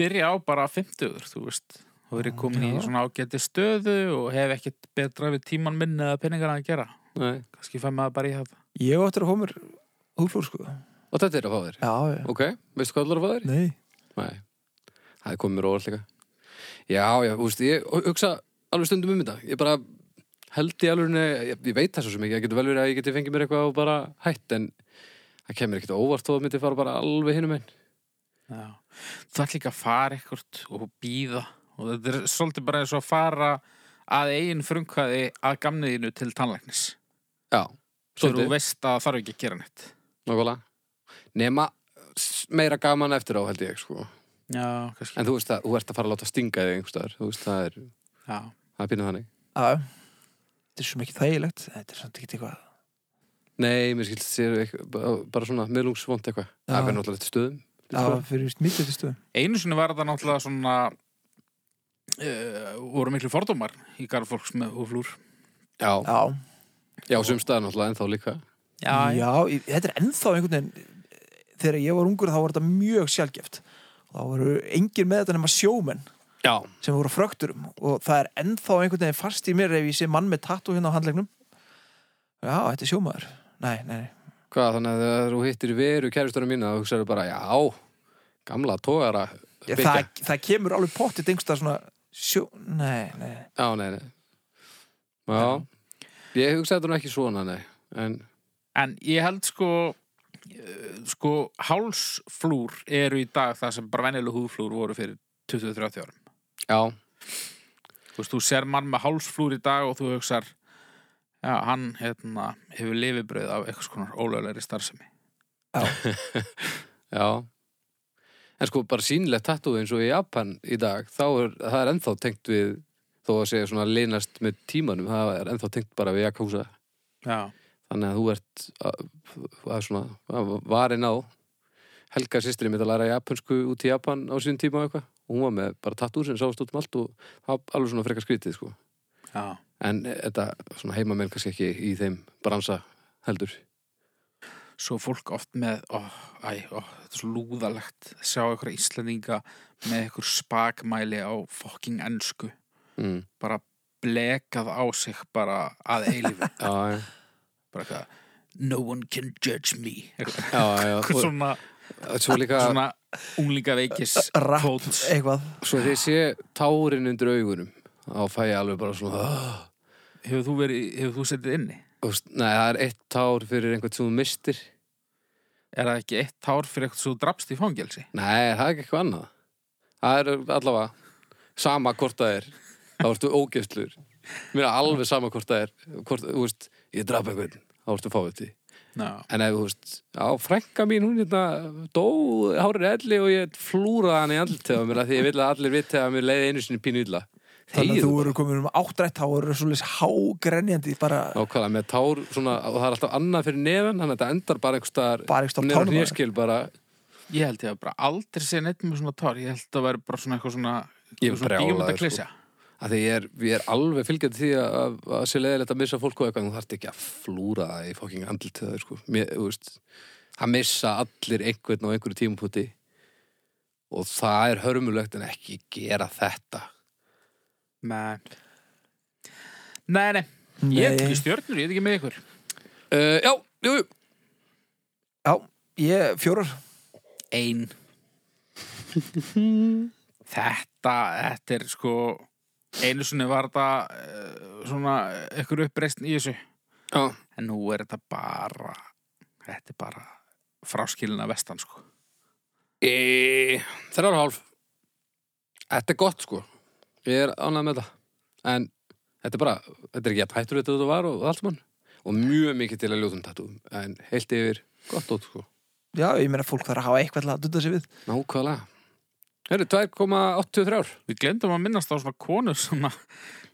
S3: byrja á bara að 50, þú veist. Þú verið komin í
S1: Já.
S3: svona ágæti stöðu og hef ekkert betra við tíman minn eða peningar að gera.
S2: Nei.
S3: Kannski fæ maður bara í þetta.
S1: Ég áttur að hómur húflúr sko Já,
S2: Og þetta er að fá þér.
S1: já,
S2: Ok, veistu hvað allar að fá þér?
S1: nei
S2: Nei. Það er komið mér óvart líka. Já, já, þú veist, ég hugsa alveg stundum um þetta. Ég bara held í alveg, ég, ég veit það svo sem ekki, ég getur vel verið að ég geti fengið mér eitthvað og bara hætt, en það kemur ekkert á óvart þó að myndi fara bara alveg hinum einn.
S3: Já. Þú ætti líka að fara ekkert og býða. Og þetta er svolítið bara eins og að fara að eigin frumkvæði að gamniðinu til tannlæknis.
S2: Já,
S3: Svo þú
S2: svolítið,
S3: veist að það þarf ekki að gera neitt.
S2: nákvæmlega. Nema s- meira gaman eftir á, held ég, sko.
S3: Já, kannski.
S2: En þú veist að, þú ert að fara að láta stinga þig einhverstaðar, þú veist, það er,
S3: Já.
S2: það er pínað þannig.
S1: Já, já. þetta er svo mikið þægilegt Þetta er samt ekki eitthvað
S2: Nei, mér skilst sér eitthvað, bara- bara svona miðlungsvont eitthvað.
S1: Já.
S2: Það verður náttúrulega eftir stöðum.
S1: Já, fyrir víst mítið til stöðum
S3: Einu sinni var þetta náttúrulega svona uh, voru miklu fordómar í garðfólks með húflúr.
S2: Já,
S1: Já,
S2: já, sum staðar náttúrulega en þá líka.
S1: já, ég- þetta er ennþá einhvern veginn Þegar ég var ungur þá var þetta mjög sjálfgeft Og þá voru engir með þetta nema sjómenn
S2: Já.
S1: sem voru á frökturum og það er ennþá einhvern veginn fast í mér ef ég sé mann með tattu hérna á handlegnum Já, þetta er sjómaður Nei, nei, nei
S2: Hvað, þannig að þegar þú hittir veru kæristunum mína, þá hugsaðu bara, já, gamla tógara.
S1: Ég, það, það kemur alveg pottið yngsta svona sjó, nei, nei,
S2: Já, nei, nei. Já, ég hugsaði þetta nú ekki svona, nei. En,
S3: En ég held sko eh, sko hálsflúr eru í dag það sem bara venjuleg húflúr voru fyrir 20-30 árum.
S2: já,
S3: Þú veist, þú ser mann með hálsflúr í dag og þú hugsar já, hann hérna, hefur lifibröð af eitthvað konar ólöglegri starfsemi.
S2: já. En sko, bara sínlegt tattoo eins og í Japan í dag, þá er, það er ennþá tengt við, þó að segja svona leynast með tímanum, það er ennþá tengt bara við Jakobsa.
S3: Já.
S2: þannig að þú ert að, að svona, að varin á Helga sýstri mitt að læra japansku út í Japan á síðan tíma og eitthvað og hún var með bara tattúr sem sást út um allt og það var alveg svona frekar skrítið sko
S3: Já.
S2: en eh, þetta svona heimamenn kannski ekki í þeim bransa heldur
S3: Svo fólk oft með, ó, æ, ó, þetta er svo lúðalegt að sjá eitthvað íslendinga með eitthvað spakmæli á fokking ennsku.
S2: mm.
S3: Bara blekað á sig bara að eilífu. [laughs]
S2: já, já,
S3: bara eitthvað no one can judge me eitthvað
S2: já, já. Og,
S3: svona,
S2: svo líka
S3: svona unglingaveikis
S1: Rapp.
S3: quotes.
S1: eitthvað
S2: svo þegar ég sé tárin undir augunum þá fæ ég alveg bara svona "Ah."
S3: hefur þú verið, hefur þú setið inni
S2: Þú veist, nei, það er eitt tár fyrir einhvern sem þú mistir
S3: er það ekki eitt tár fyrir eitthvað svo drapst í fangelsi
S2: Nei, það er ekki eitthvað annað. Það er allavega sama hvort það er. Þá ertu ógeftlur. Mér er alveg sama hvort það er. Hvort, þú veist, ég draf eitthvað, þá ertu fáið því.
S3: no.
S2: En ef, þú veist, á frænka mín, hún hérna dó, hárið elli og ég flúraði hann í andlitið á mér af því ég vil að allir viti að mér leiði einu sinni pínu illa.
S1: þannig
S2: Þegið
S1: að þú
S2: þú
S1: eru komin um áttrætt þá eru svolítið hágrenjandi bara,
S2: Nákvæmlega með tár svona, og það er alltaf annað fyrir nefn, þannig að þetta endar bara einhvers staðar
S1: bara ekki stopp
S2: nefn og
S1: tánum bara.
S2: hnýskil bara,
S3: ég held ég að bara aldrei sé neitt með svona tár ég held að vera bara svona eitthvað svona
S2: Ég er
S3: svona
S2: brjálaður, sko.
S3: bíómyndaklysja.
S2: að því ég er, ég er alveg fylgjandi því að, að, að sé leiðilegt að missa fólk og eitthvað, en þú þarft ekki að flúra það í fóking andl til það, sko. Mér, þú veist, að missa allir einhvern á einhverju tímaputi og það er hörmulegt en ekki gera þetta.
S3: nei nei, nei, ég er ekki
S1: Nei,
S3: stjörnur, ég er ekki með ykkur
S2: Uh, já, jú, jú.
S1: já, ég fjórar
S3: ein [laughs] þetta, þetta er sko einu sinni var þetta eh, svona ykkur uppreistn í þessu
S2: Já,
S3: en nú er þetta bara þetta er bara fráskilina vestan sko
S2: e, þrjár og hálf. Þetta er gott, sko. Ég er ánægð með þetta. En þetta er bara, þetta er ekki að hættur þetta þetta var og allt mann. Og mjög mikið til að ljóðum tattum. En heilt yfir, gott ótt, sko.
S1: já, ég meina fólk þarf að hafa eitthvað til að dutta sig við
S2: Nákvæmlega. Herru, 2,83
S3: við glemdum að minnast á svona konu sem að,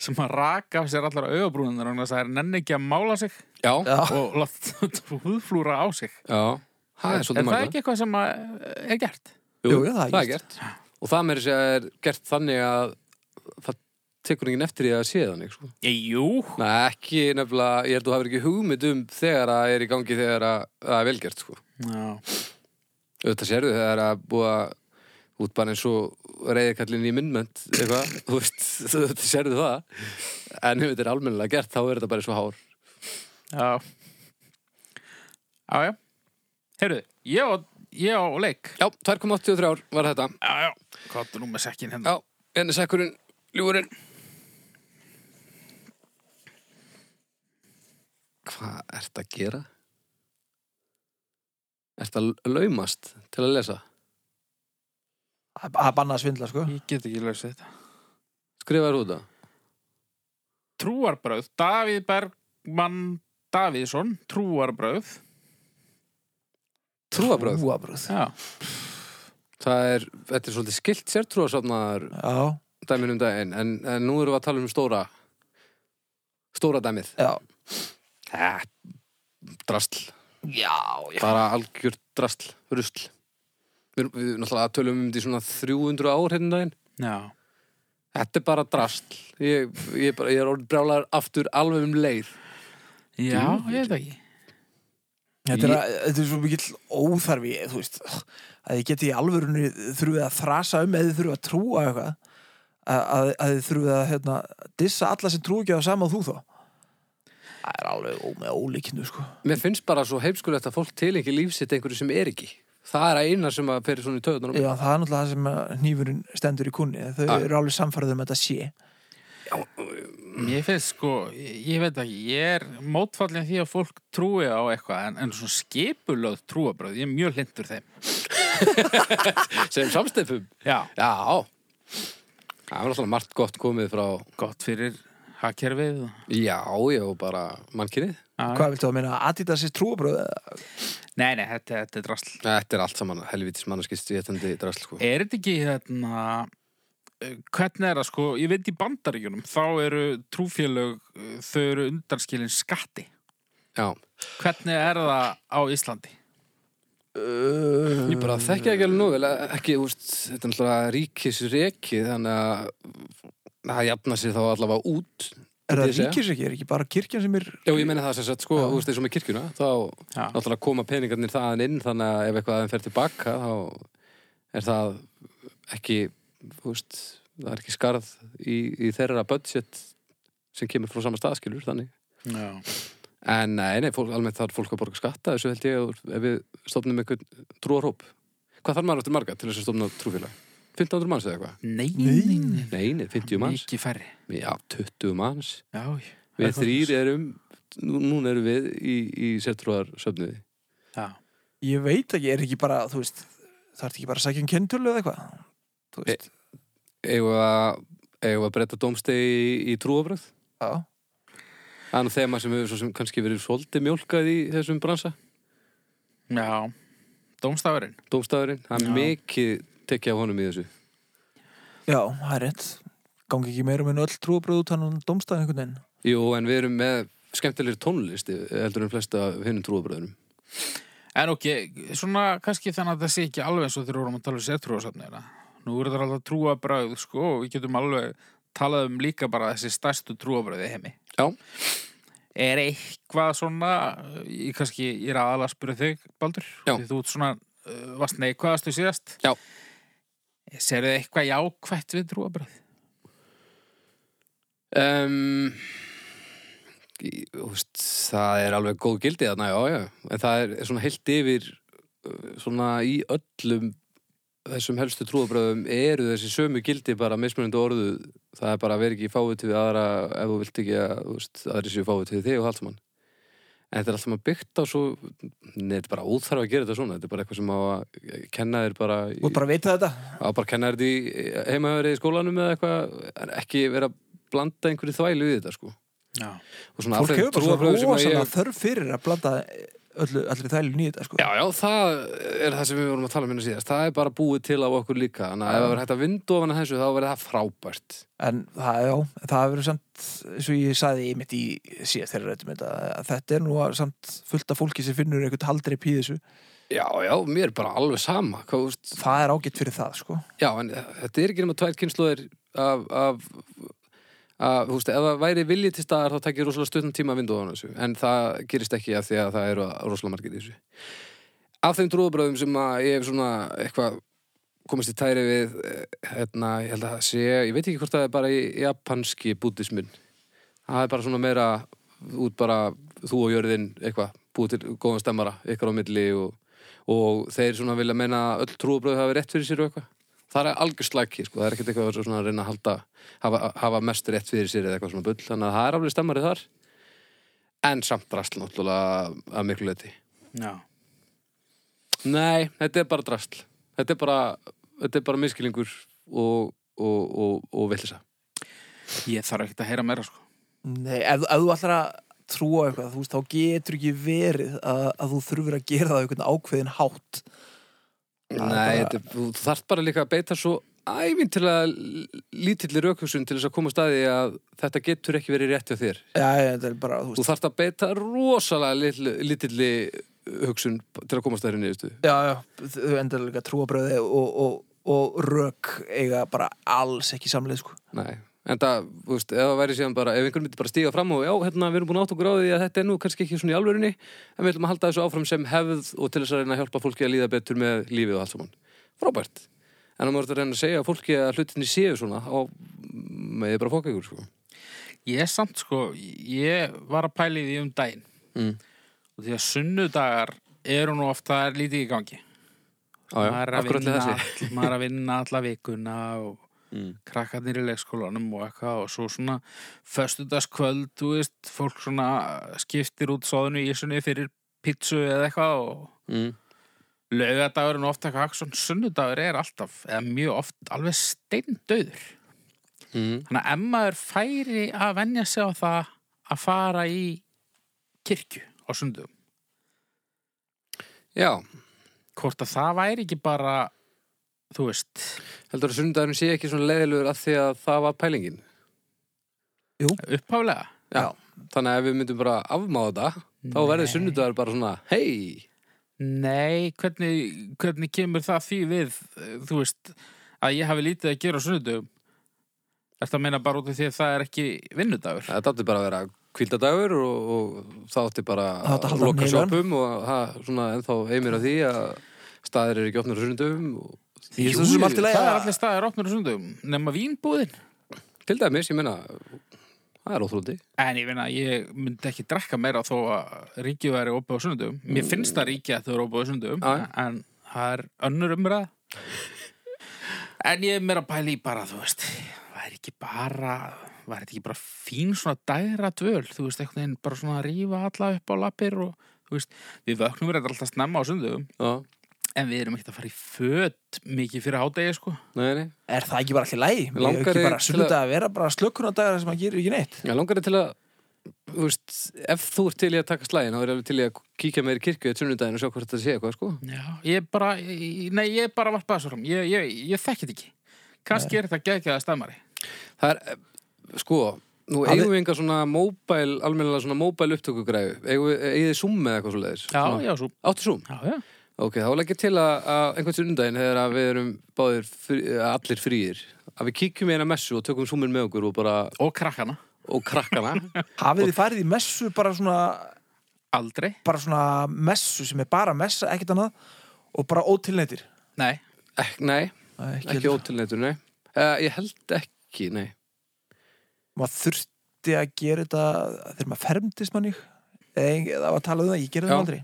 S3: sem að raka af sér allar augabrúnir og það er nenni ekki að mála sig
S2: Já, já,
S1: já,
S3: og láta húðflúra á sig
S2: það er
S3: er
S2: svolítið
S3: það
S2: margir
S3: ekki eitthvað sem að eh, er gert?
S1: Jú, jú, það er
S2: það er gert og það meiri segja er gert þannig að það tekur enginn eftir því að það sé þannig sko.
S3: Ég, jú,
S2: Nei, ekki nefnilega, ég held að þú hefur ekki hugmynd um þegar að er í gangi þegar að það er velgert sko.
S3: já,
S2: auðvitað sérðu þegar að búa út bara eins og reyðikallin í myndmönd eitthvað, [laughs] þú veist, þú- auðvitað sérðu það en ef þetta er almennilega gert þá er þetta bara eins og hár
S3: já Já, já Heyrðu, ég á, ég á leik
S2: Já, 2,83 ár var þetta
S3: Já, já, hvað er nú með sekkin hérna?
S2: Já, enni sekkurinn, ljúurinn Hvað ert að gera? Ert að laumast til að lesa?
S1: Það er bannað að svindla, sko.
S3: Ég get ekki lausið þetta
S2: Skrifaður út það?
S3: Trúarbröð, Davíð Bergmann Davíðsson, trúarbröð
S2: Trúabröð?
S1: Trúabröð.
S3: Já,
S2: Það er, þetta er svolítið skilt sér trúasafnaðar
S1: Já,
S2: dæmin um daginn en, en nú erum við að tala um stóra stóra dæmið
S1: já.
S2: Æ, drasl,
S1: Já, já.
S2: bara algjör drasl rusl við, við náttúrulega tölum um þetta í svona 300 ár hérna um daginn
S3: já
S2: Þetta er bara drasl Ég, ég, bara, ég er orðin brjálar aftur alveg um leið
S3: Já,
S2: Djú,
S3: ég veit það ekki
S1: Þetta er, að, þetta er svo mikill óþarfi, þú veist, að þið geti í alvörunni þurfið að þrasa um eða þið þurfið að trúa eitthvað, að, að, að þið þurfið að hérna, dissa alla sem trú ekki á sama og þú þá. Það er alveg ó, með ólíkinu, sko.
S2: Mér finnst bara svo heimskulegt að fólk tilengi lífsitt einhverju sem er ekki Það er að eina sem að fyrir svona í töðunum
S1: Já, það er náttúrulega það sem að hnífurinn stendur í kunni. Þau
S2: Ah.
S1: eru alveg samfærið um að þetta sé.
S3: Ég finnst sko, ég, ég veit ekki, ég er mótfallin því að fólk trúi á eitthvað en, en svona skipulöð trúarbröð, ég er mjög hlindur þeim
S2: sem samstefum
S3: Já,
S2: Já Það var náttúrulega margt gott komið frá
S3: gott fyrir hakkerfið
S2: Já, já, og bara mannkynið
S1: Hvað viltu að meina? Adidas er trúabröð? eða?
S3: Nei, nei, þetta, þetta er drasl
S2: Þetta er allt saman helvitis mannarskist í þetta drasl sko.
S3: Er þetta ekki hérna eh, hvernig er það sko, ég veit í bandaríkjunum þá eru trúfélög eh, þau eru undanskilin skatti
S2: Já,
S3: hvernig er það á Íslandi?
S2: ég bara þekki það ekki alveg nú vel, ekki, úst, þetta er náttúrulega ríkisreki þannig að það jafna sér þá allavega út
S1: Er það
S2: myndi ég segja.
S1: ríkis ekki? Er ekki bara kirkjan sem er...
S2: Já, ég meina það sem sagt, sko, þú veist, eins og með kirkjuna þá
S3: Já.
S2: náttúrulega koma peningarnir þaðan inn þannig að ef eitthvað aðeins fer tilbaka þá er það ekki, þú veist það er ekki skarð í, í þeirra budget sem kemur frá sama staðskilur þannig.
S3: Já.
S2: En nei, nei, fólk, almennt þarf fólk að borga skatta þessu held ég og ef við stofnum einhvern trúarhóp. Hvað þarf maður eftir marga til þess að stofna trúfélag? 1500 manns eða eitthvað?
S3: Nei,
S1: Nei.
S2: Nei, nei, 50 manns.
S3: Ekki færri
S2: Já, 20 manns.
S3: Já,
S2: Við þrýr erum, nú- núna erum við í, í sértrúarsöfniði.
S3: já.
S1: Ég veit ekki, er ekki bara, þú veist, það ert ekki bara að sækja um kentölu eða eitthvað? Þú
S2: Eh.
S1: veist,
S2: eigum við að, eigum við að breyta dómstegi í, í trúafröð
S1: já.
S2: það er nú þema sem hefur svo sem kannski verið svolítið mjólkað í þessum bransa
S3: já. Dómstafurinn
S2: dómstafurinn, það
S3: Já.
S2: er mikið tekið af honum í þessu
S1: Já, það er rétt. Gangi ekki meira með öll trúabröð út hann domstæðin einhvern veginn.
S2: Jú, en við erum með skemmtilegri tónlist heldur en flesta af hinnum trúafröðunum
S3: En ok, svona kannski þannig að það sé ekki alveg eins og þegar við vorum að tala um sértrúasafnina Nú eru það alltaf trúabröð sko, og við getum alveg talað um líka bara þessi stærstu trúabröði heimi
S2: Já,
S3: er eitthvað svona ég kannski, ég er aðalega að spyrja þig Baldur,
S2: Já.
S3: því þú ert svona uh, varst neikvæðastu síðast
S2: Já.
S3: Serðu þið eitthvað jákvætt við trúabröð?
S2: um, í- þú veist, það er alveg góð gildi þarna, já, já, en það er svona heilt yfir uh, svona í öllum þessum helstu trúabröðum eru þessi sömu gildi bara mismunandi orðu það er bara að vera ekki fáið til við aðra ef þú vilt ekki að þú veist, aðri séu fáið til þig og allt saman en þetta er alltaf maður byggt á svo neður, þetta er bara óþarf að gera þetta svona þetta er bara eitthvað sem á að kenna þér bara í-
S1: Þú ert bara að vita þetta?
S2: að bara kenna þér því heimaverið í skólanum eða eitthvað, en ekki vera að blanda einhverju þvælu við þetta sko
S3: Já.
S2: og svona
S1: Fólk
S2: af þeim
S1: hefur bara svo
S2: trúarbrögðum sem að
S1: rosalega
S2: ég...
S1: þörf fyrir að blanda öllu, öllu þælu nýtt, sko.
S2: Já, já, það er það sem við vorum að tala um minna síðast það er bara búið til af okkur líka þannig að ef það verður hægt að vindu ofan að þessu þá verður það frábært
S1: En það, já, það verður samt, eins og ég saði einmitt í síðast þeirra rættum þetta, að þetta er nú að samt fullt af fólki sem finnur einhvern haldreip í þessu.
S2: Já, já, mér er bara alveg sama hvað, þú veist,
S1: það er ágætt fyrir það sko
S2: Já, en eh, þetta er ekki nema tvær kynnslóðir af, af, af þú veist, ef það væri viljið til staðar þá tekir rosalega stuttan tíma að vindu á hann þessu en það gerist ekki af því að það eru rosalega margir í þessu Af þeim trúðabröðum sem að ég hef svona eitthvað komist í tæri við eh, hérna, ég held að það sé, ég veit ekki hvort það er bara í japanski búddismin það er bara svona meira út bara þú og jörðin eitthvað, búið til góðan stemmara ykkar á milli og, og þeir svona vilja meina að öll trúabröð hafi rétt fyrir sér og eitthvað það er algjör slæki, sko, það er ekkert eitthvað að vera svona að reyna að halda, hafa, hafa mest rétt fyrir sér eða eitthvað svona bull, þannig að það er alveg stemmari þar en samt drasl náttúrulega að miklu leiti
S3: Já.
S2: Nei, þetta er bara drasl Þetta er bara, þetta er bara miskilingur og, og, og, og villisa
S3: Ég þarf ekkert að heyra meira sko.
S1: Nei, ef, ef þú ætlar að trúa á eitthvað þú veist, þá getur ekki verið að, að þú þurfur að gera það á einhvern ákveðin hátt
S2: Nei,
S1: Það er bara-
S2: þetta, er- þú þarft bara líka að beita svo ævintilega lítilli rökhugsun til þess að koma staði að þetta getur ekki verið rétt hjá þér
S1: Já, já, þetta er bara, þú
S2: Þú
S1: veist
S2: þarft að beita rosalega litlu- lítilli hugsun til að koma staðir niðurstöðu
S1: Já, já, þau endur líka trúabröði og, og, og rök eiga bara alls ekki samleið sko
S2: Nei, en það, þú veist, ef það væri síðan bara, ef einhvern myndi bara stíga fram og já, hérna, við erum búin að átt okkur á því að þetta er nú kannski ekki svona í alvörunni, en við ætlum að halda þessu áfram sem hefð og til þess að reyna að hjálpa fólki að líða betur með lífið og allt saman. Frábært. En það maður þetta reyna að segja að fólki að hlutinni séu svona á, með bara fóka ykkur, sko.
S3: Ég samt sko, ég var að pæla í því um daginn
S2: Mm.
S3: og því að sunnudagar eru nú oft það er lítið í gangi
S2: Á, já,
S3: maður er að
S2: af hverju allir
S3: vinna
S2: þessi?
S3: all- maður er að vinna alla vikuna og
S2: Mm.
S3: krakkarnir í leikskólanum og eitthvað og svo svona föstudagskvöld, þú veist, fólk svona skiptir út svoðinu í sunni fyrir pítsu eða eitthvað og
S2: Mm.
S3: laugadagur er nú ofta eitthvað svona sunnudagur er alltaf, eða mjög oft alveg steindauður
S2: Mm.
S3: þannig að ef maður færi að venja sig á það að fara í kirkju á sundum
S2: Já,
S3: hvort að það væri ekki bara þú veist,
S2: heldur að sunnudagurinn sé ekki svona leiðilegur að því að það var pælingin.
S3: upphálega
S2: Já. Þannig að ef við myndum bara afmáða þetta, þá verður sunnudagur bara svona, hei,
S3: Nei, hvernig, hvernig kemur það því við, eh, þú veist, að ég hafi lítið að gera á sunnudum? Þetta meina bara út af því að það er ekki vinnudagur.
S2: Þetta átti bara að vera kvíldadagur og, og það átti bara
S1: Það átti að halda
S2: loka
S1: hann heilan.
S2: sjoppum og það svona ennþá heimir að því að staðir eru ekki opnir á sunnudum og
S1: Ég er svo sem allt í lagi
S3: það er
S1: að-
S3: allir staðar opnir á sunnudum, nema vínbúðin.
S2: til dæmis, ég meina, það er óþrúndi.
S3: En ég finna, ég myndi ekki drekka meira þó að ríkið væri opið á sunnudum. Mér finnst það ríkið að þau eru opið á sunnudum,
S2: Já, já.
S3: en það er önnur umræð. En ég er meira að pæla í bara, þú veist, væri ekki bara, væri þetta ekki bara fín svona dæra dvöl, þú veist, einhvern veginn bara svona að rífa alla upp á lappir og, þú veist, við vöknum verið alltaf snemma á sundum,
S2: Já,
S3: en við erum ekkert að fara í föt mikið fyrir hádegi, sko.
S2: nei, nei.
S1: Er það ekki bara allir lægi?
S2: Langar
S1: Langar ekki
S2: þig
S1: bara
S2: til
S1: sunnudag að vera bara slökkunardagar sem að gera ekki neitt?
S2: Ég langar þig til að, þú veist, ef þú ert til í að taka slægin, þá er ég alveg til í að kíkja meir í kirkju eitt sunnudaginn og sjá hvort þetta sé eitthvað, sko.
S3: Já, ég er bara, ég- nei, ég er bara varpað þessu fram, ég, ég, ég þekki þetta ekki. Kannski er þetta geggjað að stemmari.
S2: Það er, eh, sko, nú
S1: Hafið-
S2: eigum við enga svona móbæl, almennilega svona móbæl upptökugræðu. Eigum við, eigið þið Zoom eða eitthvað svo leiðis?
S3: Já, já, svo,
S2: Áttu Zoom?
S3: já, já.
S2: Ok, þá legg ég til að, að einhvern sundaginn þegar að við erum báðir frí, eh, allir frýir að við kíkjum í eina messu og tökum súminn með okkur og bara,
S3: Og krakkana,
S2: og
S3: [laughs]
S2: krakkana
S1: Hafið þið farið í messu bara svona,
S3: aldrei,
S1: bara svona messu sem er bara messa, ekkert annað og bara ótilnættir?
S3: nei,
S2: Ek, Nei,
S1: Ekki, hérna.
S2: ekki
S1: ekki
S2: ótilneitur, nei uh, Ég held ekki, nei
S1: Maður þurfti að gera þetta þegar maður fermdist manni eða ein- það var að tala um það, ég gerði
S2: Já.
S1: það aldrei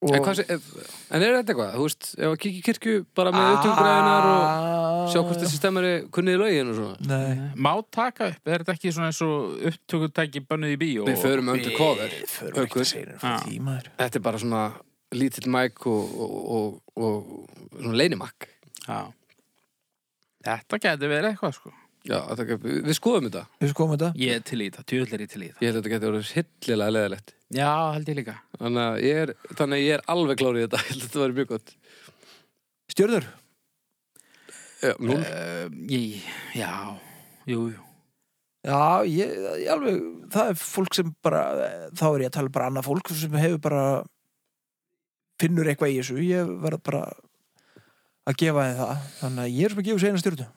S2: en, hvað, sé- ef, en er þetta eitthvað, þú veist, ef að kíkja í kirkju bara með
S1: Ah.
S2: auðvitugræðinar og sjá hvort þessi stemmari kunnið í lögin og svona
S1: Nei,
S3: má taka upp, er þetta ekki svona eins og upptökutæki bönnuð í bíó?
S2: Við förum undir kofur
S1: Við förum ekki
S2: Haukur.
S1: að segja þeirra fyrir
S3: Já.
S1: tímaður
S2: Þetta er bara svona lítill mæk og, og, og, og, og svona leinimakk
S3: Já. Þetta gæti verið eitthvað, sko.
S2: Já, þetta, við, við skoðum þetta
S1: Við skoðum þetta
S3: Ég er til í þetta, tjóðlega er ég til í
S2: Ég
S3: þetta.
S2: held að þetta geti orðið hillilega leðilegt
S3: Já, held ég líka.
S2: Þannig að ég er, þannig að ég er alveg klárið þetta, [laughs] ég held að þetta var mjög gott.
S1: Stjörður,
S2: Já, núl.
S3: Uh, ég, já, jú, jú.
S1: Já, ég, ég alveg, um það er fólk sem bara, þá er ég að tala bara annað fólk sem hefur bara finnur eitthvað í þessu ég verð bara að gefa þið það þannig að ég er sem að gefa sér eina stjórnu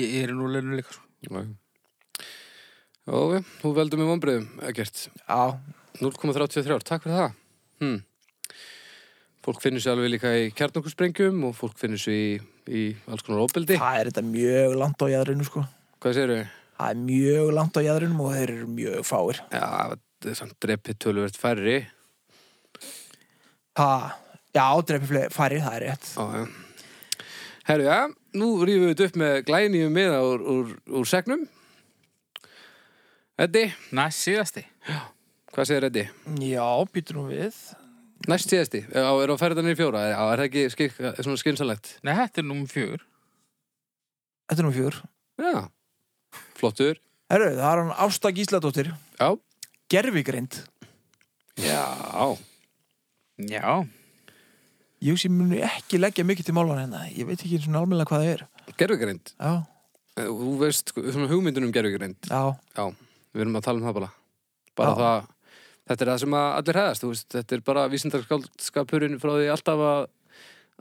S3: Ég, ég er nú leinu líka sko.
S2: Já. Óvi, þú veldur með vonbröðum, ekkert.
S1: Já,
S2: 0,33, takk fyrir það. Hm. Fólk finnur sér alveg líka í kjarnokursprengjum og fólk finnur sér í, í alls konar óbeldi.
S1: það er þetta mjög langt á jæðrinu sko
S2: Hvað segirðu?
S1: það er mjög langt á jæðrinum og þeir eru mjög fáir
S2: Já, þetta er samt drepið tölvert færri.
S1: ha, já, drepi fle- færri, það er rétt
S2: Já, já. Herru, já, nú rýfum við þetta upp með glænýjum miða úr, úr, úr segnum. Eddi,
S3: Næst síðasti
S2: hvað segir Eddi?
S1: já, býtur nú við
S2: Næst síðasti, já, er á ferðanir í fjóra, já, er það ekki skik, svona skynsalegt?
S3: Nei, þetta er nummer fjögur
S1: þetta er nú fjör
S2: Já, flottur,
S1: Herru, það er hann Ásta Gísladóttir
S2: já.
S1: gerfigreind
S2: Já,
S3: Já,
S1: ég sem muni ekki leggja mikið til málan hérna ég veit ekki svona almennilega hvað það er
S2: gerfugreind.
S1: já,
S2: Eh, Þú veist svona hugmyndunum um gerfugreind.
S1: já,
S2: Já, við erum að tala um það bara. Bara
S1: Já.
S2: það, þetta er það sem að allir hefðast, þú veist, þetta er bara vísindarskapurinn frá því alltaf að,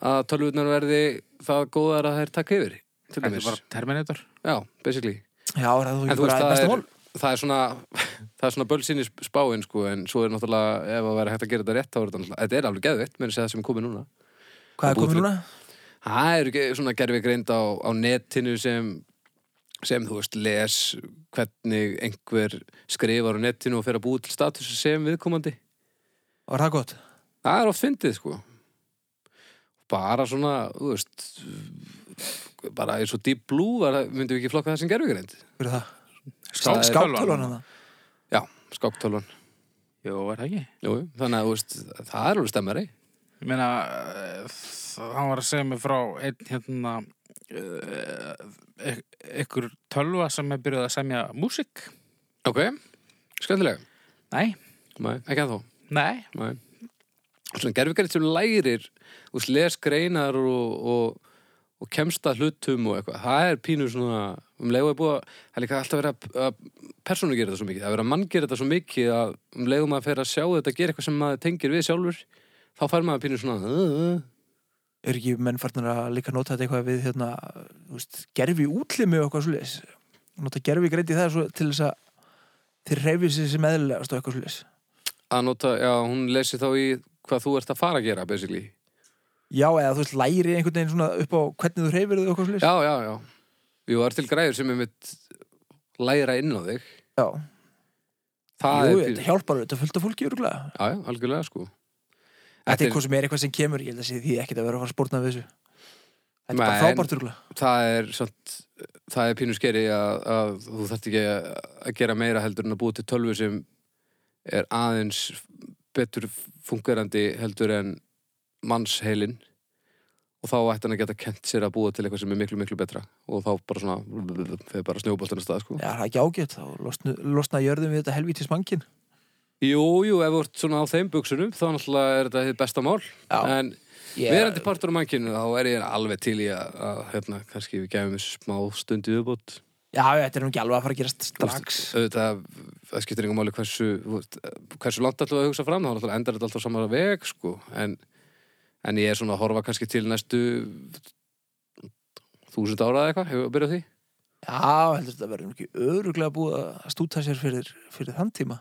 S2: að tölvurnar verði það góðar að þær taka yfir. Til
S3: þetta er
S2: dæmis.
S3: bara Terminator
S2: Já, basically.
S1: já, er það þú
S2: En
S1: ekki
S2: þú veist,
S1: bara
S2: það
S1: besta
S2: er,
S1: mál
S2: það er svona, [laughs] það er svona bölsinni spáin, sko, en svo er náttúrulega, ef að vera hægt að gera þetta rétt, þá er þetta náttúrulega, þetta er alveg geðveitt, menn sér það sem er komið núna.
S1: hvað er
S2: búið
S1: komið
S2: til-
S1: núna?
S2: Það eru ekki svona gerfi greind á, á netinu sem, sem þú veist, les hvernig einhver skrifar á netinu og fer að búi til status sem viðkomandi.
S1: var það gott?
S2: Það er oft fyndið, sko. Bara svona, þú veist, bara eins og Deep Blue var, myndum við ekki flokka það sem gerfi greind.
S1: hver er það?
S2: Það er-
S1: skáttölan hann
S2: Já, skáptölvan.
S3: Jó, er það ekki?
S2: Jú, jú, þannig að, þú veist, það er alveg stemmari.
S3: Ég meina, eh, það- hann var að segja mig frá einn hérna eh, e- einhver tölva sem er byrjuð að semja músík
S2: Ok, skemmtilega.
S3: Nei,
S2: Nei, ekki að þó.
S3: nei,
S2: Nei. Svona gerfugreind sem lærir og les greinar og, og, og kemst að hlutum og eitthvað. Það er pínu svona, um leiðu er búið að, það er líka alltaf verið að- að persónu gera þetta svo mikið. Það er verið að mann gera þetta svo mikið að um leiðu maður fer að sjá þetta gera eitthvað sem maður tengir við sjálfur. Þá fær maður pínu svona, uh, uh.
S1: er ekki menn farnir að líka nota þetta eitthvað við hérna, þú veist, gerfi útlimi og eitthvað svoleiðis nota gerfi greint í það svo, til þess að þeir reyfið sér sem eðlilegast og eitthvað svoleiðis
S2: að nota, já, hún lesi þá í hvað þú ert að fara að gera, basically.
S1: já eða þú veist læri einhvern veginn svona upp á hvernig þú reyfir þau og eitthvað svoleiðis
S2: Já, já, já. Jú, það er til græður sem er mitt læra inn á þig.
S1: já. Jú,
S2: Það er pínu-
S1: þetta hjálpar þetta fullt af fólki örgulega
S2: Já, já, algjörlega sko
S1: Þetta er eitthvað sem er eitthvað sem kemur, ég held að sé því ekkert að vera að fara að spórna við þessu. Þetta er bara
S2: Nei, en-
S1: frábært örgulega.
S2: það er samt, það er pínu skeri að, að þú þarft ekki að gera meira heldur en að búa til tölvu sem er aðeins betur fungerandi heldur en mannsheilin og þá ætti hann að geta kent sér að búa til eitthvað sem er miklu, miklu betra og þá bara svona, þegar bara snjóboltan að stað sko.
S1: Já, það er ekki ágætt, þá losna, losna jörðum við þetta helvítis mangin.
S2: Jú, jú, ef þú ert svona á þeim buksunum þá náttúrulega er þetta hið besta mál
S1: Já,
S2: en
S1: Eh, ég,
S2: verandi partur á mannkinu þá er ég alveg til í að, að hérna, kannski við gefum þessu smá stundi viðbót
S1: já, þetta er nú ekki alveg að fara að gerast strax.
S2: Þú veist, auðvitað, það skiptir yngum máli hversu, þú veist, hversu langt alltaf að hugsa fram, þá náttúrulega endar þetta alltaf saman að veg, sko, en, en ég er svona að horfa kannski til næstu þúsund ára eða eitthvað, hefur að byrja á því?
S1: Já, heldur þetta verður nú ekki öruglega búið að stúta sér fyrir, fyrir þann tíma.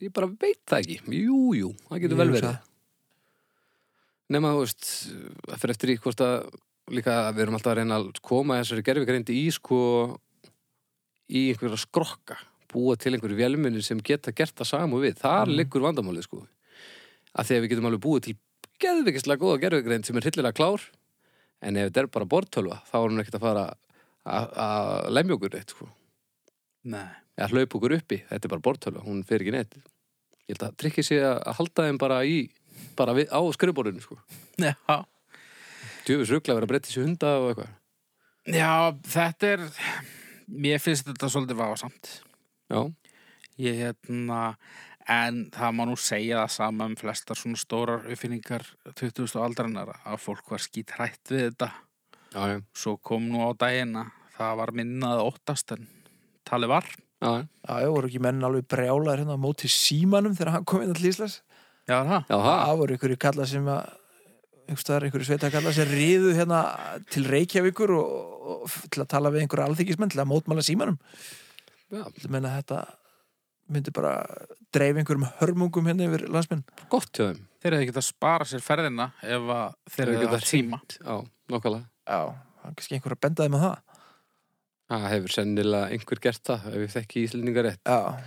S2: Ég bara veit það ekki, jú, jú, það getur
S1: Ég
S2: vel
S1: hugsa
S2: verið.
S1: það.
S2: Nefna, þú veist, það fyrir eftir í hvort að, líka, við erum alltaf að reyna að koma þessari gerfigreindi í, sko, í einhverja skrokka, búa til einhverju vélminni sem geta gert það samu við. Þar
S1: Mhm.
S2: liggur vandamálið, sko. Að því að við getum alveg búið til geðvikislega góða gerfigreind sem er hryllilega klár, en ef þetta er bara bortölva, þá er hún ekkert að fara að- að lemja okkur neitt, sko.
S3: nei
S2: Eða hlaupa okkur uppi, þetta er bara bortölva, hún fer ekki neitt. Ég held að tryggja sig að að halda þeim bara í, bara við, á skrifborðinu, sko.
S3: Já,
S2: Djöfis ruggla að vera að breytta sér hunda og eitthvað.
S3: Já þetta er mér finnst þetta svolítið vásamt
S2: Já,
S3: Ég hérna, en það má nú segja það sama um flestar svona stórar uppfinningar 2000 aldranara að fólk var skýt hrætt við þetta.
S2: já, já.
S3: Svo kom nú á dagina, það var minnað óttast en talið var.
S2: já.
S1: Já, já, voru ekki menn alveg brjálaðir hérna á móti símanum þegar hann kom inn allir Íslands.
S3: Já, er það?
S2: Jaha,
S1: Það voru ykkur kalla sem að einhverstaðar, ykkur sveita kalla sem riðu hérna til Reykjavíkur og, og, og til að tala við einhverja alþykismenn til að mótmála símanum
S2: já,
S1: Ég meina að þetta myndi bara dreif einhverjum hörmungum hérna yfir landsmenn
S2: gott hjá þeim
S3: Þeir hefðu getað að spara sér ferðina ef að þeir
S2: Þeir
S3: hefðu
S2: geta
S3: getað tíma.
S2: Já, nokkulega
S1: Já, það er kannski einhver að benda þeim að það
S2: Það hefur sennilega einhver gert það ef við þekki íslendingar rétt
S1: Já,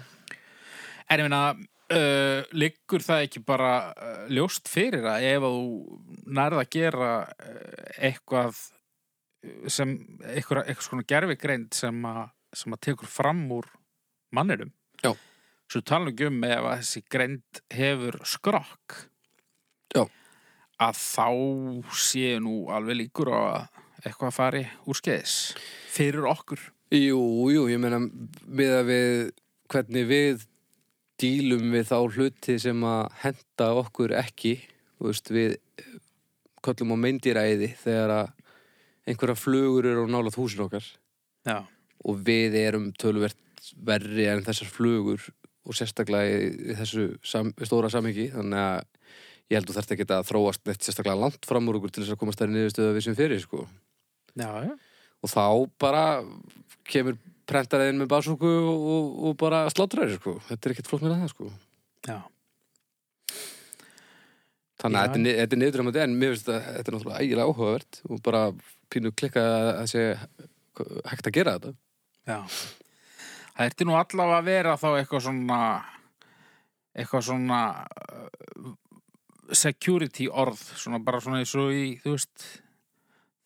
S3: En ég meina, uh, liggur það ekki bara uh, ljóst fyrir að ef að þú nærð að gera uh, eitthvað uh, sem, eitthvað, eitthvað svona gerfigreind sem að, sem að tekur fram úr mannirum.
S2: Já.
S3: Svo tala ekki um ef að þessi greind hefur skrokk.
S2: Já.
S3: Að þá séu nú alveg líkur á að eitthvað fari úr skeiðis fyrir okkur.
S2: Jú, jú, ég meina miða við hvernig við dílum við þá hluti sem að henda okkur ekki þú veist, við eh, köllum á meindýræði þegar að einhverja flugur eru á nálað húsin okkar
S3: Já.
S2: og við erum töluvert verri en þessar flugur og sérstaklega í, í þessu sam, stóra samhengi þannig að ég held að þetta geta að þróast neitt sérstaklega langt fram úr okkur til þess að komast þær niðurstöðu við sem fyrir sko
S3: Já, já.
S2: og þá bara kemur prentaraðin með basúku og, og, og bara sláttraður sko. þetta er ekkert flott með það sko.
S3: Já.
S2: þannig að
S3: Já.
S2: þetta er ni- þetta er niðurdramat en mér finnst að þetta er náttúrulega ægilega áhugavert og bara pínu klikka að að sé hægt að gera þetta
S3: Já. Það ertu nú allavega að vera þá eitthvað svona eitthvað svona uh, security orð svona bara svona eins og í, þú veist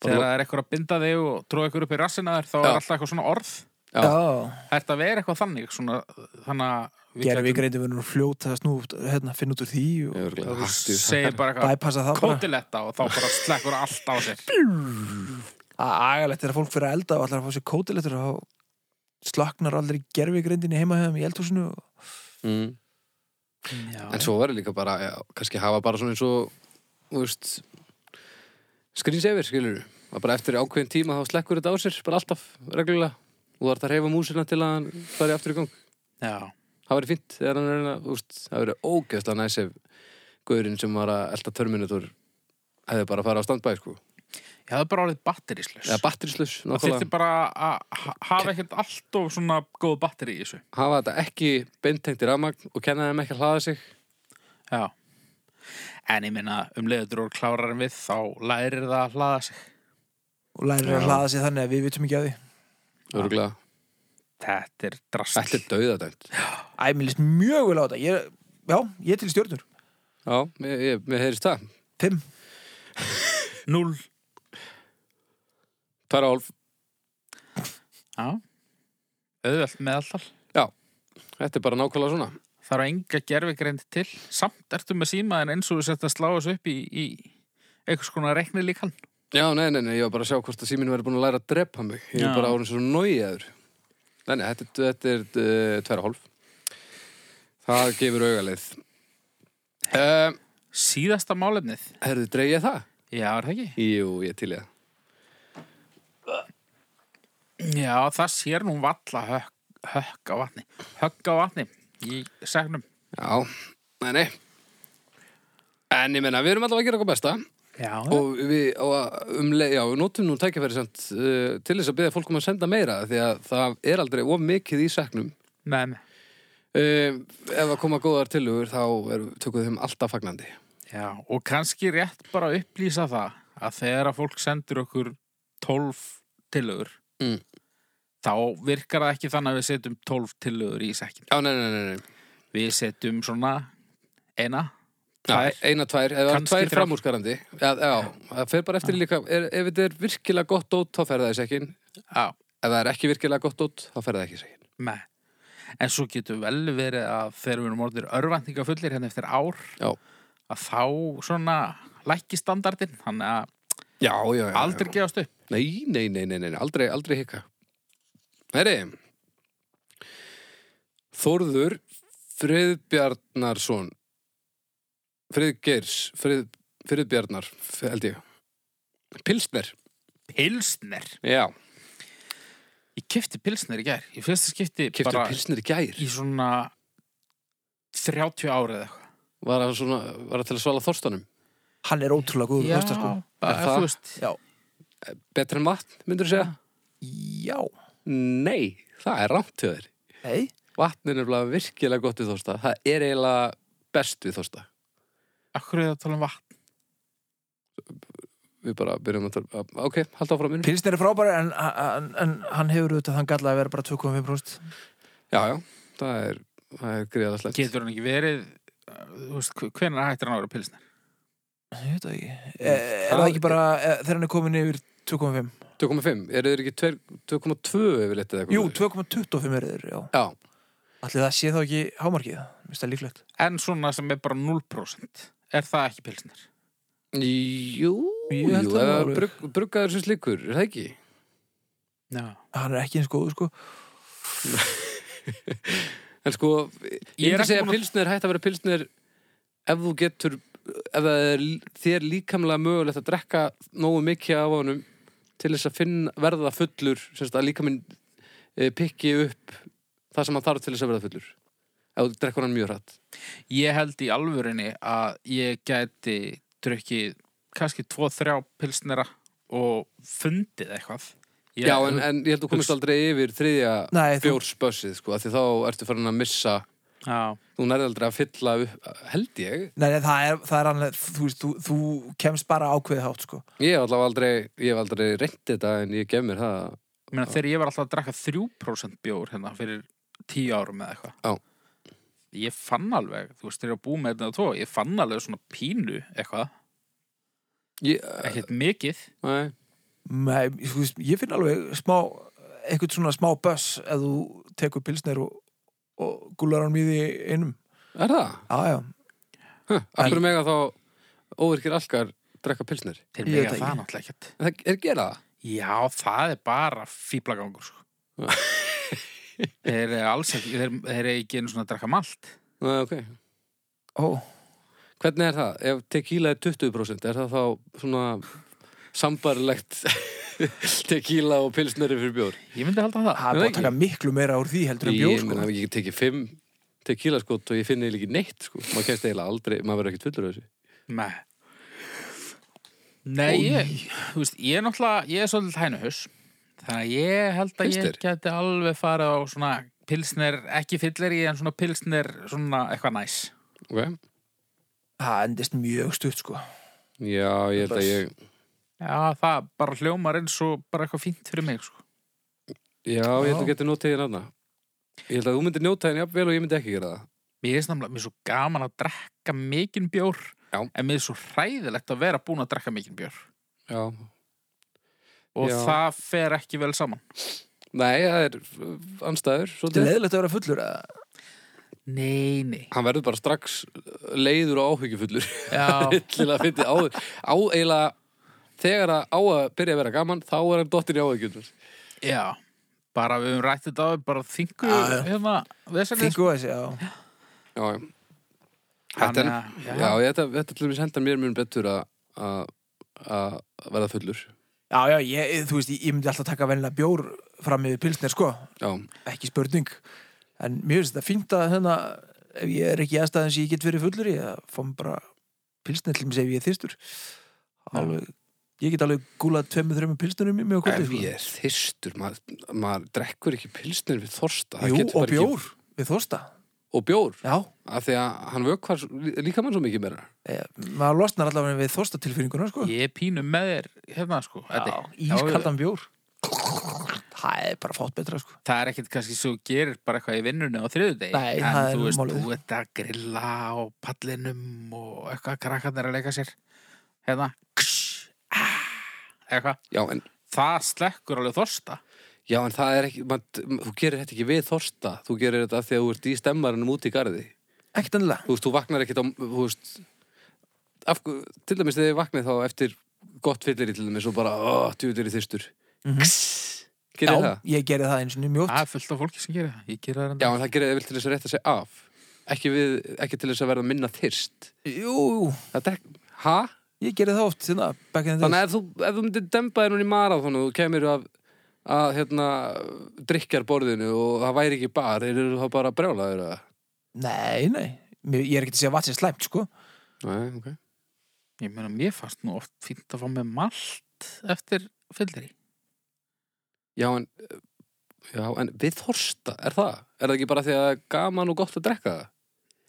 S2: Bara-
S3: þegar það er eitthvað að binda þig og tróða eitthvað upp í rassina þér þá er
S2: Já.
S3: alltaf eitthvað svona orð
S2: Já.
S1: já.
S3: Það ertu að vera eitthvað þannig svona, þannig að við
S1: Gerfi
S3: gætum-
S1: greindi verður fljóta að snú hérna, finna út úr því og
S2: Örugglega
S3: þú
S2: hægt í þessu.
S3: segir bara eitthvað
S1: bæpassa það bara
S3: kótiletta og þá bara slekkur allt á sér
S1: Það er agalegt þegar fólk fyrir að elda og allar að fá sér kótilettur og þá slaknar aldrei gerfi greindinni heima hefðum í eldhúsinu og
S2: mm.
S3: Já,
S2: en svo verður líka bara já, kannski hafa bara svona eins og þú veist skrýnsefir skilur að bara eftir ákveðin tíma þá slekkur þetta á sér bara alltaf reglulega og þú ert að reyfa músina til að hann fari aftur í gang
S3: já,
S2: það verið fínt þegar hann er að, úst, það verið ógeðslega næs ef guðurinn sem var að elda Terminator hefði bara að fara á standbæ sko.
S3: ég hafði bara orðið batterislaus
S2: eða batterislaus,
S3: Það þyrfti
S2: nákvæmlega
S3: bara að ha- hafa ekkert allt og svona góð batteri í þessu
S2: hafa þetta ekki beintengt í rafmagn og kenna þeim ekki að hlaða sig
S3: Já. En ég minna, um leiður og klárar en við þá lærir það að hlaða sig.
S1: og lærir að
S2: Já.
S1: hlaða sig þannig að við vitum ekki að því
S2: örgulega,
S3: Þetta er drast.
S2: þetta er dauðadæmt
S1: Æ, mér líst mjög vel á þetta ég, Já, ég er til í stjórnur
S2: já, mér, ég- mér heyrist það
S1: Fimm,
S3: Null.
S2: Tara Olf,
S3: Já. Auðvelt meðallal.
S2: þetta er bara nákvæmlega svona
S3: Það eru enga gerfigreind til. Samt ertu með símaðin eins og þú sett að slá þessu upp í, í einhvers konar rekni líkan.
S2: já, nei, nei, nei, ég var bara að sjá hvort að síminn verið búin að læra að drepa mig ég
S3: Já.
S2: er bara árið svo nóiðaður nei, nei, þetta, er- þetta er uh, tverra hálf það gefur augaleið um,
S3: Síðasta málefnið.
S2: herðu, dreig ég það?
S3: Já, er það ekki?
S2: Jú, ég til ég það
S3: Já, það sér nú valla högg, högg á vatni. Högg á vatni í segnum.
S2: Já, nei, nei En ég menna, við erum allavega að gera okkur besta
S3: Já.
S2: og við og um, leið- já, við notum nú tækifæri samt, uh, til þess að byrja fólk um að senda meira því að það er aldrei of mikið í seknum
S3: Nei, nei.
S2: uh, Ef að koma góðar tilugur þá er, tökum við þeim alltaf fagnandi
S3: Já, og kannski rétt bara að upplýsa það að þegar að fólk sendur okkur 12 tillögur
S2: Mm.
S3: þá virkar það ekki þannig að við setjum 12 tillögur í sekkin.
S2: Já, nei, nei, nei, nei.
S3: Við setjum svona eina,
S2: Já,
S3: tvær,
S2: eina tvær, eða
S3: Kannski
S2: tvær
S3: þrjár.
S2: framúrskarandi já, já, það fer bara eftir líka er, Ef þetta er virkilega gott dót, þá fer það í sekkin Ef
S3: á,
S2: það er ekki virkilega gott dót, þá fer það ekki í sekkin
S3: með. En svo getur vel verið að þegar við erum orðir örvæntingafullir hérna eftir ár
S2: Já,
S3: að þá svona lækki standardin, þannig að
S2: já, já, já
S3: aldrei gefast upp.
S2: Nei, nei, nei, nei, nei, aldrei, aldrei hikka. Heri, Þórður Friðbjarnarsson, Friðgeirs, Frið, Friðbjarnar, held ég. Pilsner,
S3: Pilsner.
S2: já,
S3: Ég kefti pilsner í gær. Ég fyrst að skipti
S2: keftur
S3: bara
S2: Pilsner í gær.
S3: í svona 30 ára eða eitthvað.
S2: var að, svona, var að til að svala þorstanum
S1: Hann er ótrúlega góður
S3: Já,
S1: þorsta sko
S3: bara,
S2: Er það-
S3: þú veist
S1: Já,
S2: Betra en vatn, myndur þú segja?
S1: já,
S2: Nei, það er rámt til þér
S1: nei
S2: Vatn er nefnilega virkilega gott við þorsta Það er eiginlega best við þorsta
S3: Akkur er það að tala um vatn
S2: Við bara byrjum að tala að- Ok, halda áfram minn
S1: Pilsner er frábæri en, en, en hann hefur auðvitað þann galla að vera bara 2,5%
S2: Já, já, það er, það er greiðlega slett
S3: Getur hann ekki verið uh, Þú veist, hvenær hættir hann að vera pilsnir?
S1: Ég veit það ekki e, Er það ekki bara e, þegar hann er komin yfir 2,5?
S2: 2,5, eru þeir ekki 2- 2,2 yfirleitt eða eitthvað?
S1: Jú, 2,25 eru þeir, já
S2: Já,
S1: Allir það sé þá ekki hámarkið, mér finnst það líklegt
S3: En svona sem er bara 0% Er það ekki pilsnir?
S2: jú,
S1: Ég held
S2: jú
S1: það
S2: eða
S1: alveg.
S2: brugg, bruggaður sem slíkur, er það ekki?
S3: Já
S1: Hann er ekki eins góð, sko
S2: En sko,
S3: Ég
S2: ég
S3: er
S2: er
S3: ekki
S2: að segja
S3: búin
S2: að
S3: að-
S2: pilsnir hætt að vera pilsnir ef þú getur, ef það er þér líkamlega mögulegt að drekka nógu mikið af honum til þess að finna, verða fullur, sem sagt að líkaminn e, pikki upp það sem hann þarf til þess að verða fullur ef þú drekkur hann mjög hratt.
S3: Ég held í alvörinni að ég gæti drukkið kannski 2-3 pilsnera og fundið eitthvað ég,
S2: Já, en, en ég held þú komist
S3: Hugs-
S2: aldrei yfir þriðja
S1: Nei, þú-
S2: bjórspössið, sko, af því þá ertu farin að missa,
S3: Já,
S2: þú nærði aldrei að fylla upp, held ég,
S1: Nei, nei, það er, það er annað, þú veist, þú, þú kemst bara ákveðið hátt, sko
S2: Ég hef allavega aldrei, ég hef aldrei reynt þetta en ég gef mér það.
S3: ég meina þegar ég var alltaf að drakka 3% bjór hérna fyrir 10 árum eða eitthvað
S2: Já.
S3: Ég fann alveg, þú veist, þegar ég var búið með þetta og tvo Ég fann alveg svona pínu eitthvað
S2: Ég,
S1: Eh,
S3: Ekkert mikið
S2: nei,
S1: Nei, þú veist, ég finn alveg smá eitthvað svona smá böss ef þú tekur pilsner og, og gúlar hann í því einum
S2: er það?
S1: Já, já,
S2: Huh, Akkur mega þá óvirkir algar drekka pilsnir.
S3: Þeir
S1: Ég
S3: mega
S1: veit
S3: það
S1: ekki.
S3: náttúrulega ekkert
S2: En það er gera það.
S3: Já, það er bara fíblagangur sko. Þeir eru alls ekki Þeir, þeir eru ekki einu svona að drakka malt
S2: Nei, ok.
S1: ó,
S2: Hvernig er það? Ef tequila er 20% er það þá svona [laughs] sambarlegt tequila og pilsnir fyrir bjór?
S3: Ég myndi halda það
S1: það er
S2: Nei,
S1: búið að
S2: ekki.
S1: taka miklu meira úr því heldur en bjór,
S2: Ég
S1: sko
S2: meina ef ég tekið fimm tequila skot og ég finn eiginlega ekki neitt sko. Maður kemst eiginlega aldrei, maður verður ekkert fullur af þessu.
S3: Nei Nei, ég, þú veist, ég er náttúrulega, ég er svolítið hænuhus Þannig að ég held að
S2: Pilsner?
S3: ég geti alveg farið á svona pilsner, ekki fyllir í en svona pilsner, svona eitthvað næs
S2: Ok.
S1: Það endist mjög stutt, sko
S2: Já, ég held að ég...
S3: Já, það bara hljómar eins og bara eitthvað fínt fyrir mig, sko
S2: Já, ég held að
S1: Já.
S2: þú getur notið þér aðna. Ég held að þú myndir njóta henni jafnvel og ég myndi ekki gera það.
S3: Mér er snamlega, mér er svo gaman að drekka mikinn bjór
S2: Já.
S3: En mér er svo hræðilegt að vera búin að drekka mikinn bjór
S2: Já.
S3: Og
S2: Já.
S3: það fer ekki vel saman
S2: Nei, það er uh,
S1: Þetta
S2: anstæður,
S1: er
S2: svolítið.
S1: leðilegt að vera fullur eða?
S3: Nei, nei
S2: Hann verður bara strax uh, leiður og áhyggjufullur. [laughs]
S3: Já,
S2: Rillilega fyndi áður. Á eiginlega, þegar að á að byrja að vera gaman, þá er hann dottir í áhyggjunum.
S3: já Bara við höfum rætt þetta á bara þingu
S1: Já, já.
S3: hérna, vesenið,
S1: Þingu að þessi, já
S2: Já, já. Þetta er,
S3: Þannig
S2: já,
S3: að-
S2: já þetta, þetta til dæmis hendar mér mjög betur að- að að verða fullur.
S1: Já, já, ég, eh, þú veist, ég, ég myndi alltaf taka venlega bjór fram yfir pilsner, sko
S2: Já,
S1: Ekki spurning En mér finnst þetta fínt að, hérna ef ég er ekki í aðstæðan sem ég get verið fullur í það fórum bara pilsner til mér ef ég er þyrstur Alveg Ég get alveg gúlað tveimur, þreimur pilsnerum í mig og sko. kvöldi,
S2: ef ég er þyrstur, maður, maður drekkur ekki pilsnir við þorsta. Það
S1: Jú,
S2: getur
S1: og
S2: bara
S1: bjór við þorsta
S2: Ekki, og bjór.
S1: Já,
S2: af því að hann vökvar líka mann svo mikið meira
S1: e, maður losnar allavega við þorsta tilfinninguna, sko
S3: Ég er pínu með þér hérna sko Eddi. Já,
S1: Ískaldan bjór Það er bara fátt betra, sko
S3: Það er ekkert kannski svo þú gerir bara eitthvað í vinnunni á þriðudegi
S1: Nei,
S3: En
S1: það er
S3: þú veist,
S1: málið.
S3: þú ert að grilla á pallinum og eitthvað krakkarnir að leika sér Hérna kss, ah, Eitthvað
S2: já en,
S3: Það slekkur alveg þorsta
S2: já, en það er ekki man, þú gerir þetta ekki við þorsta þú gerir þetta af því að þú ert í stemmarinum út í garði
S1: Ekkert ennilega
S2: þú veist, þú vaknar ekkit á þú veist, af, hver- til dæmis þegar ég vaknaði þá eftir gott fyllir í til dæmis og bara, ó, djúður í þyrstur
S1: Mhm.
S2: Kss. gerir
S1: Já,
S2: það?
S1: ég gerði það eins og mjög oft.
S3: Það er fullt af fólki sem gerir það Ég gerir það
S2: Já,
S3: enda
S2: en það gerir það vel til þess að rétta sig af ekki, við, ekki til þess að verða minna þyrst
S1: Jú, jú,
S2: það drek, ha?
S1: ég gerði það oft þarna, back in the
S2: Þannig
S1: days.
S2: að ef þú, ef þú myndir dempa þér núna í marathon og þú kemur af að hérna drikjar borðinu og það væri ekki bar, eru þú þá bara brjálaður að
S1: Nei, nei, mér, ég er ekki að segja að vatn sé slæmt sko
S2: Nei, ok.
S3: Ég meina, mér fannst nú oft fínt að fá með malt eftir fyllir í.
S2: Já, en, uh, já, en við þorsta, er það? Er það ekki bara því að það er gaman og gott að drekka það?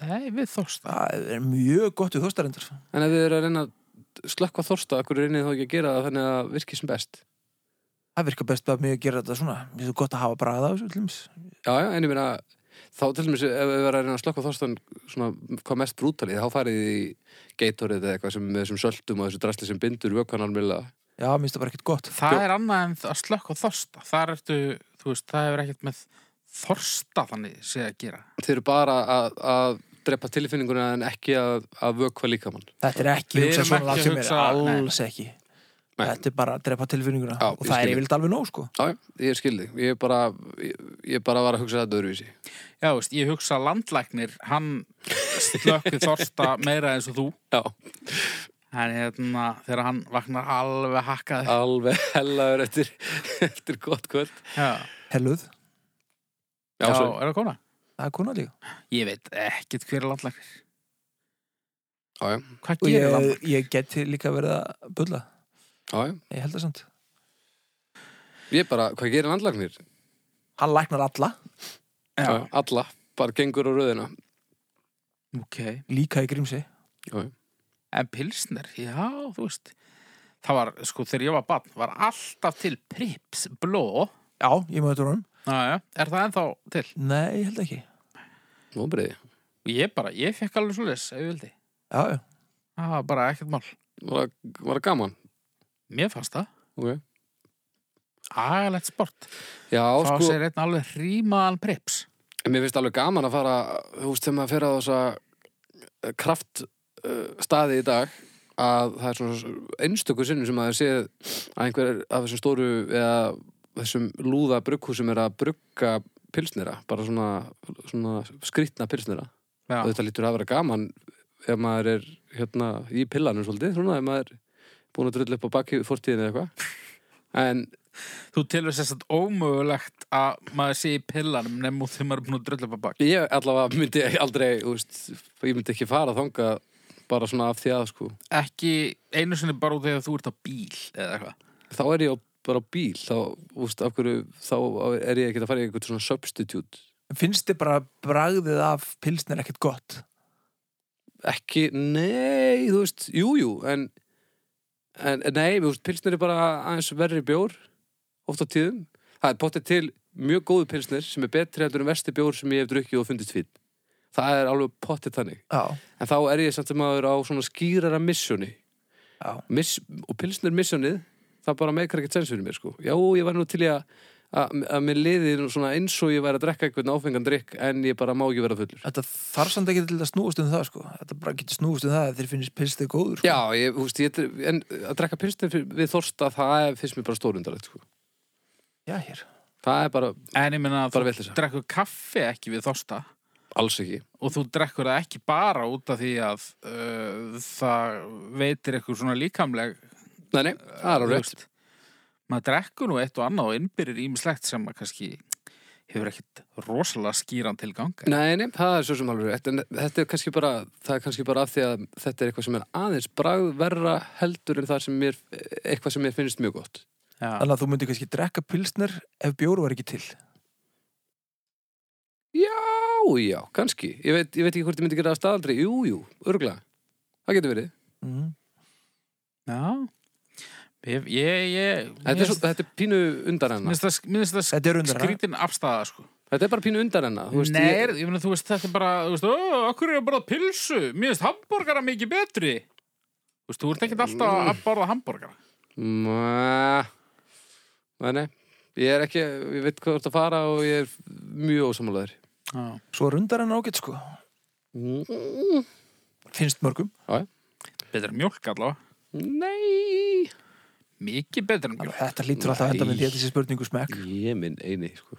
S3: Nei, við þorsta.
S1: það er mjög gott við þóstarendur
S2: En ef við erum að reyna að slökka þorsta, hverju reynið þá ekki að gera það þannig að það virki sem best?
S1: það virkar best bara mjög að gera þetta svona mér finnst gott að hafa bragað á þessu til dæmis.
S2: Já, já, en ég meina, þá til dæmis ef við erum að reyna að slökka þorstan svona hvað mest brútalið, þá farið þið í geitorið eða eitthvað sem með þessum söltum og þessu drasli sem bindur vökan almilla.
S1: já, mér finnst það bara ekkert gott
S2: Sko-
S3: Það er annað en að slökka þorsta. Það ertu, þú veist, það hefur ekkert með þorsta þannig sé að gera.
S2: Þið eru bara að, að drepa tilfinninguna en ekki að, að vökva líkamann.
S1: þetta er ekki
S3: Við
S1: hugsað
S3: erum
S1: svona
S3: ekki
S1: langt sem er
S3: hugsa-
S1: alls ekki
S2: Nei.
S1: þetta er bara að drepa tilfinninguna
S2: Já,
S1: og
S2: ég
S1: það
S2: skil.
S1: er yfirleitt alveg nóg sko
S2: Já, já, ég skildi. Ég bara, ég, ég bara var að hugsa þetta öðruvísi.
S3: Já, þú veist, ég hugsa að landlæknir, hann slökku þorsta meira eins og þú.
S2: Já,
S3: En hérna, þegar hann vaknar alveg hakkaði.
S2: alveg hellaður eftir, eftir gott kvöld.
S3: Já,
S1: helluð,
S2: Já,
S3: já
S2: svo,
S3: er það kona?
S1: það er konar líka
S3: Ég veit ekkert hver er landlæknir.
S2: já, já,
S3: Hvað
S1: og
S3: gerir landlæknir?
S1: ég, ég geti líka verið að bulla
S2: já, já.
S1: ég held það samt
S2: Ég bara, hvað gerir landlagnir?
S1: hann læknar alla,
S3: Já.
S2: Alla, bara gengur á röðina.
S3: Ok.
S1: líka í grímsi
S2: Já, já.
S3: En pilsner, já, þú veist Það var, sko, þegar ég var barn Var alltaf til prips bló
S1: já, ég maður þetta honum
S3: Næja, er það ennþá til?
S1: nei, ég held ekki,
S2: Móbriði.
S3: Ég bara, ég fekk alveg svo leys, ef ég vildi
S1: já, já
S3: Það var bara ekkert mál
S2: Var, það- var það gaman?
S3: Mér fannst það
S2: Ok.
S3: Agalegt sport
S2: Já,
S3: Fá
S2: sko,
S3: sér einn alveg rímaðan prips
S2: en mér finnst alveg gaman að fara, þú veist, þegar maður fer á þessa eh, kraftstaði í dag, að það er svona einstöku sinnum sem maður séð að einhver af þessum stóru eða þessum lúða brugghúsum er að brugga pilsnira, bara svona, svona skrýtna pilsnira.
S3: Já,
S2: og þetta lítur að vera gaman ef maður er hérna í pillanum svolítið, svona ef maður er búin að drulla upp á baki fórtíðin eða eitthvað en
S3: þú telur sérst að ómögulegt að maður sé í pillanum nefnum þegar maður er búin að drulla upp að bak
S2: ég allavega myndi aldrei þú veist, ég myndi ekki fara þangað bara svona af því að sko
S3: Ekki einu sinni bara út þegar þú ert á bíl eða eitthvað
S2: þá er ég á, bara á bíl þá, úst, af hverju, þá er ég ekki að fara í eitthvað svona substitute
S1: En finnst þið bara bragðið af pilsnir ekkert gott
S2: ekki, nei, þú veist jújú, jú, en, en en nei, þú veist, pilsnir er bara aðeins verri bjór, oft á tíðum það er pottið til mjög góðu pilsnir sem er betri heldur en versti bjór sem ég hef drukkið og fundist fín, það er alveg pottið þannig,
S1: já,
S2: en þá er ég samt sem aður á svona skýrara missjóni
S1: já,
S2: Miss, og pilsnir missjónið það bara meikar ekkert sens fyrir mér sko já, ég var nú til ég að að að mér liði nú svona eins og ég væri að drekka eitthvað áfengan drikk en ég bara má ekki vera fullur
S1: þetta þarf samt ekki til að snúast um það sko, þetta bara getur snúast um það ef þér finnst pilsnir góður sko.
S2: Já, ég, þú veist, ég, en að drekka pilsnir fyr- við þorsta, það er- finnst mér bara stórundarlegt, sko.
S1: já, hér,
S2: Það er bara
S3: En ég meina að
S2: Bara
S3: þú
S2: vitleysa.
S3: drekkur kaffi ekki við þorsta
S2: alls ekki.
S3: og þú drekkur það ekki bara út af því að uh, það veitir eitthvað svona líkamleg
S2: Nei, nei, það er á
S3: þú
S2: rétt.
S3: veist. maður drekkur nú eitt og annað og innbyrðir ímislegt sem maður kannski hefur ekkit rosalega skýran til ganga
S2: Nei, nei, það er svo sem alveg rétt. En þetta er kannski bara, það er kannski bara af því að þetta er eitthvað sem er aðeins bragverra heldur en það sem mér, eitthvað sem mér finnst mjög gott.
S1: þannig að þú myndir kannski drekka pilsnir ef bjóru var ekki til
S2: Já, já, kannski. Ég veit, ég veit ekki hvort ég myndi gera það að staðaldri. Jú, jú, örgulega. Það getur verið.
S1: mm.
S3: Já. Ég, ég, ég
S2: Þetta er, svo, þetta er pínu undan enna.
S3: minnst það- minnst það
S1: Þetta er undan hennar.
S3: skrítin afstæða sko
S2: Þetta er bara pínu undan enna.
S3: Nei, ég, ég meina, þú veist, þetta er bara, þú veist, öh, okkur er að borða pilsu, mér finnst hambúrgara mikið betri. Þú veist, þú ert ekkert
S2: Mm.
S3: alltaf að borða hambúrgara.
S2: Mæ, Nei, nei, ég er ekki, ég veit hvað þú ert að fara og ég er mjög ósamálaður.
S3: Já.
S1: svo rundar hann ágætt sko
S3: Mm.
S1: finnst mörgum,
S3: Betur en mjólk allavega.
S2: Nei,
S3: Mikið betur en
S1: Alveg,
S3: mjólk.
S1: þetta lítur alltaf að enda
S2: Nei.
S1: með því að þessi spurningu smekk
S2: ég minn eini, sko.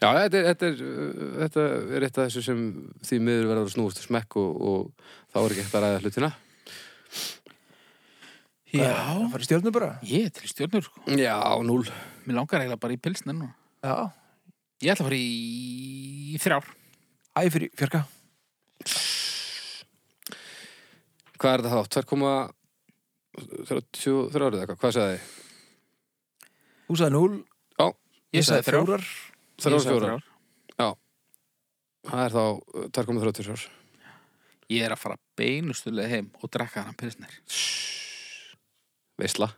S2: Já, þetta er, þetta er, uh, þetta er eitt af þessu sem því miður verður að snúast og smekk og, og þá er ekki hægt að ræða hlutina.
S1: það farið stjórnum bara
S3: Ég er til stjórnur, sko.
S2: Já, núl.
S3: Mér langar eiginlega bara í pilsnir núna.
S1: já,
S3: Ég ætla að fara í, í þrjár.
S1: æ fyrir fjörka
S2: Hvað er það þá? 2,33 árið eitthvað? Hvað sagði þið?
S1: Þú sagði 0
S2: Já,
S1: Ég, sagði
S3: þrjár.
S1: 4
S2: 3
S3: Ég sagði
S2: ára?
S3: þrjár.
S2: Það er þá uh, 2,34 ár.
S3: Ég er að fara beinustulega heim og drekka hann pilsnir
S2: Veisla.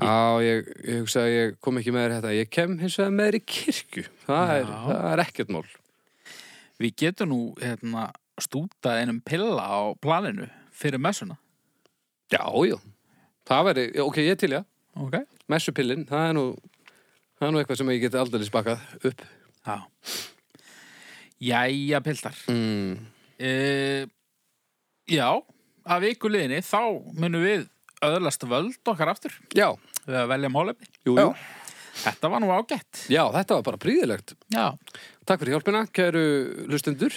S2: Já, ég, ég hugsa að ég kom ekki með þér í þetta. Ég kem hins vegar með þér í kirkju. Það er,
S3: Já.
S2: það er ekkert mál.
S3: Við getum nú hérna, stúta einum pilla á planinu fyrir messuna
S2: Já, já. Það veri, já, ok, ég til, já.
S3: Ok
S2: Messupillin, það er nú, það er nú eitthvað sem ég geti aldrei spakað upp.
S3: Já Jæja piltar
S2: Mm.
S3: e, Já, að vikuleginni þá munum við öðlast völd okkar aftur
S2: Já,
S3: við að velja málefni
S2: jú, jú.
S3: Þetta var nú ágætt
S2: Já, þetta var bara príðilegt.
S3: Já,
S2: Takk fyrir hjálpina, kæru lustendur.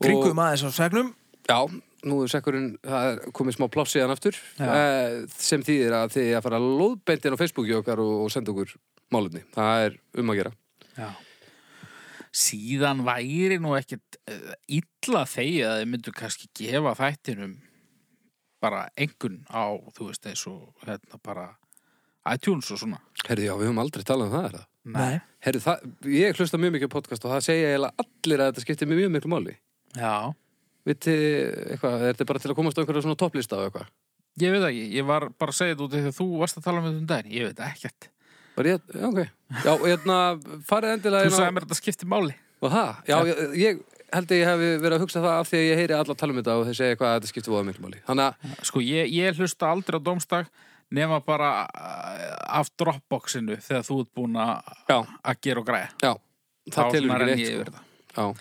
S1: Kringum aðeins á segnum
S2: Já, nú er sekkurinn, það er komið smá pláss síðan aftur
S3: Já.
S2: eh, sem þýðir að þið að fara lóðbeintin á Facebooki okkar og, og senda okkur málunni. Það er um að gera.
S3: Já. Síðan væri nú ekkit uh, illa þegið að þið myndu kannski gefa þættinum bara engun á, þú veist, eins og hérna bara iTunes og svona.
S2: Herði, já, við höfum aldrei talað um það, er það?
S1: Nei
S2: Herði, það, ég hlusta mjög mikið á podcast og það segja eiginlega allir að þetta skiptir mig mjög miklu máli.
S3: Já.
S2: Vitið, eitthvað, er þetta bara til að komast á einhverja svona topplista og eitthvað?
S3: Ég veit það ekki, ég var bara að segja þetta út af því að þú varst að tala um þetta um daginn, ég veit ekkert.
S2: Bara ég, já, ok. Já, hérna, farið endilega
S3: Þú sagði mér að þetta skipti máli.
S2: Og það, já, ég, ég held að ég hef verið að hugsa það af því að ég heyri alla tala um þetta og þeir segja hvað þetta skiptir voða miklu máli. Þannig að,
S3: Sko, ég, ég hlusta aldrei á domstag nema bara eh, af dropboxinu þegar þú ert búin að
S2: Já.
S3: að gera og græja.
S2: já, það
S3: Þá
S2: telur
S3: svona
S2: ekki
S3: renn
S2: neitt,
S3: ég
S2: sko.
S3: yfir það.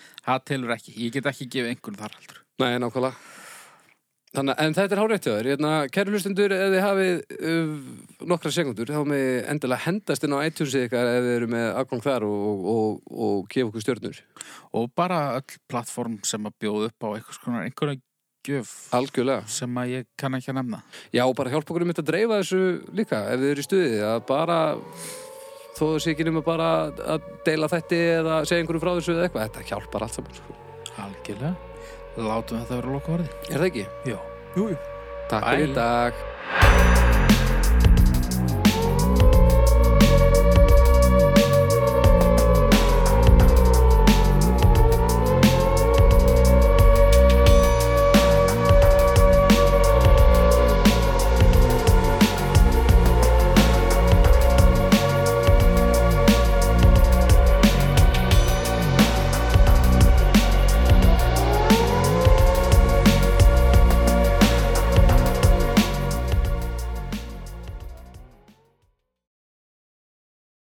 S2: Já,
S3: Það telur ekki, ég get ekki gefið einhvern þar heldur.
S2: nei, nákvæmlega. Þannig að, en þetta er hárétt hjá þér. Hérna, kæru hlustendur, ef þið hafið uh, nokkra sekundur, þá með endilega hendast inn á iTunes ykkar ef þið eru með aðgang þar og, og, og, og gefa okkur stjörnur.
S3: Og bara öll plattform sem að bjóða upp á einhvers konar einhverja gjöf
S2: Algjörlega.
S3: sem að ég kann ekki að nefna.
S2: Já, og bara hjálpa okkur um þetta að dreifa þessu líka, ef þið eru í stuði, að bara þó það sé ekki nema bara að deila þetta eða segja einhverju frá þessu eða eitthvað, þetta hjálpar allt saman, sko.
S3: Algjörlega. Látum þetta vera lokaverði.
S2: Er það ekki?
S3: Jó.
S1: Jú, jú
S2: Takk fyrir
S3: Bye.
S2: í dag.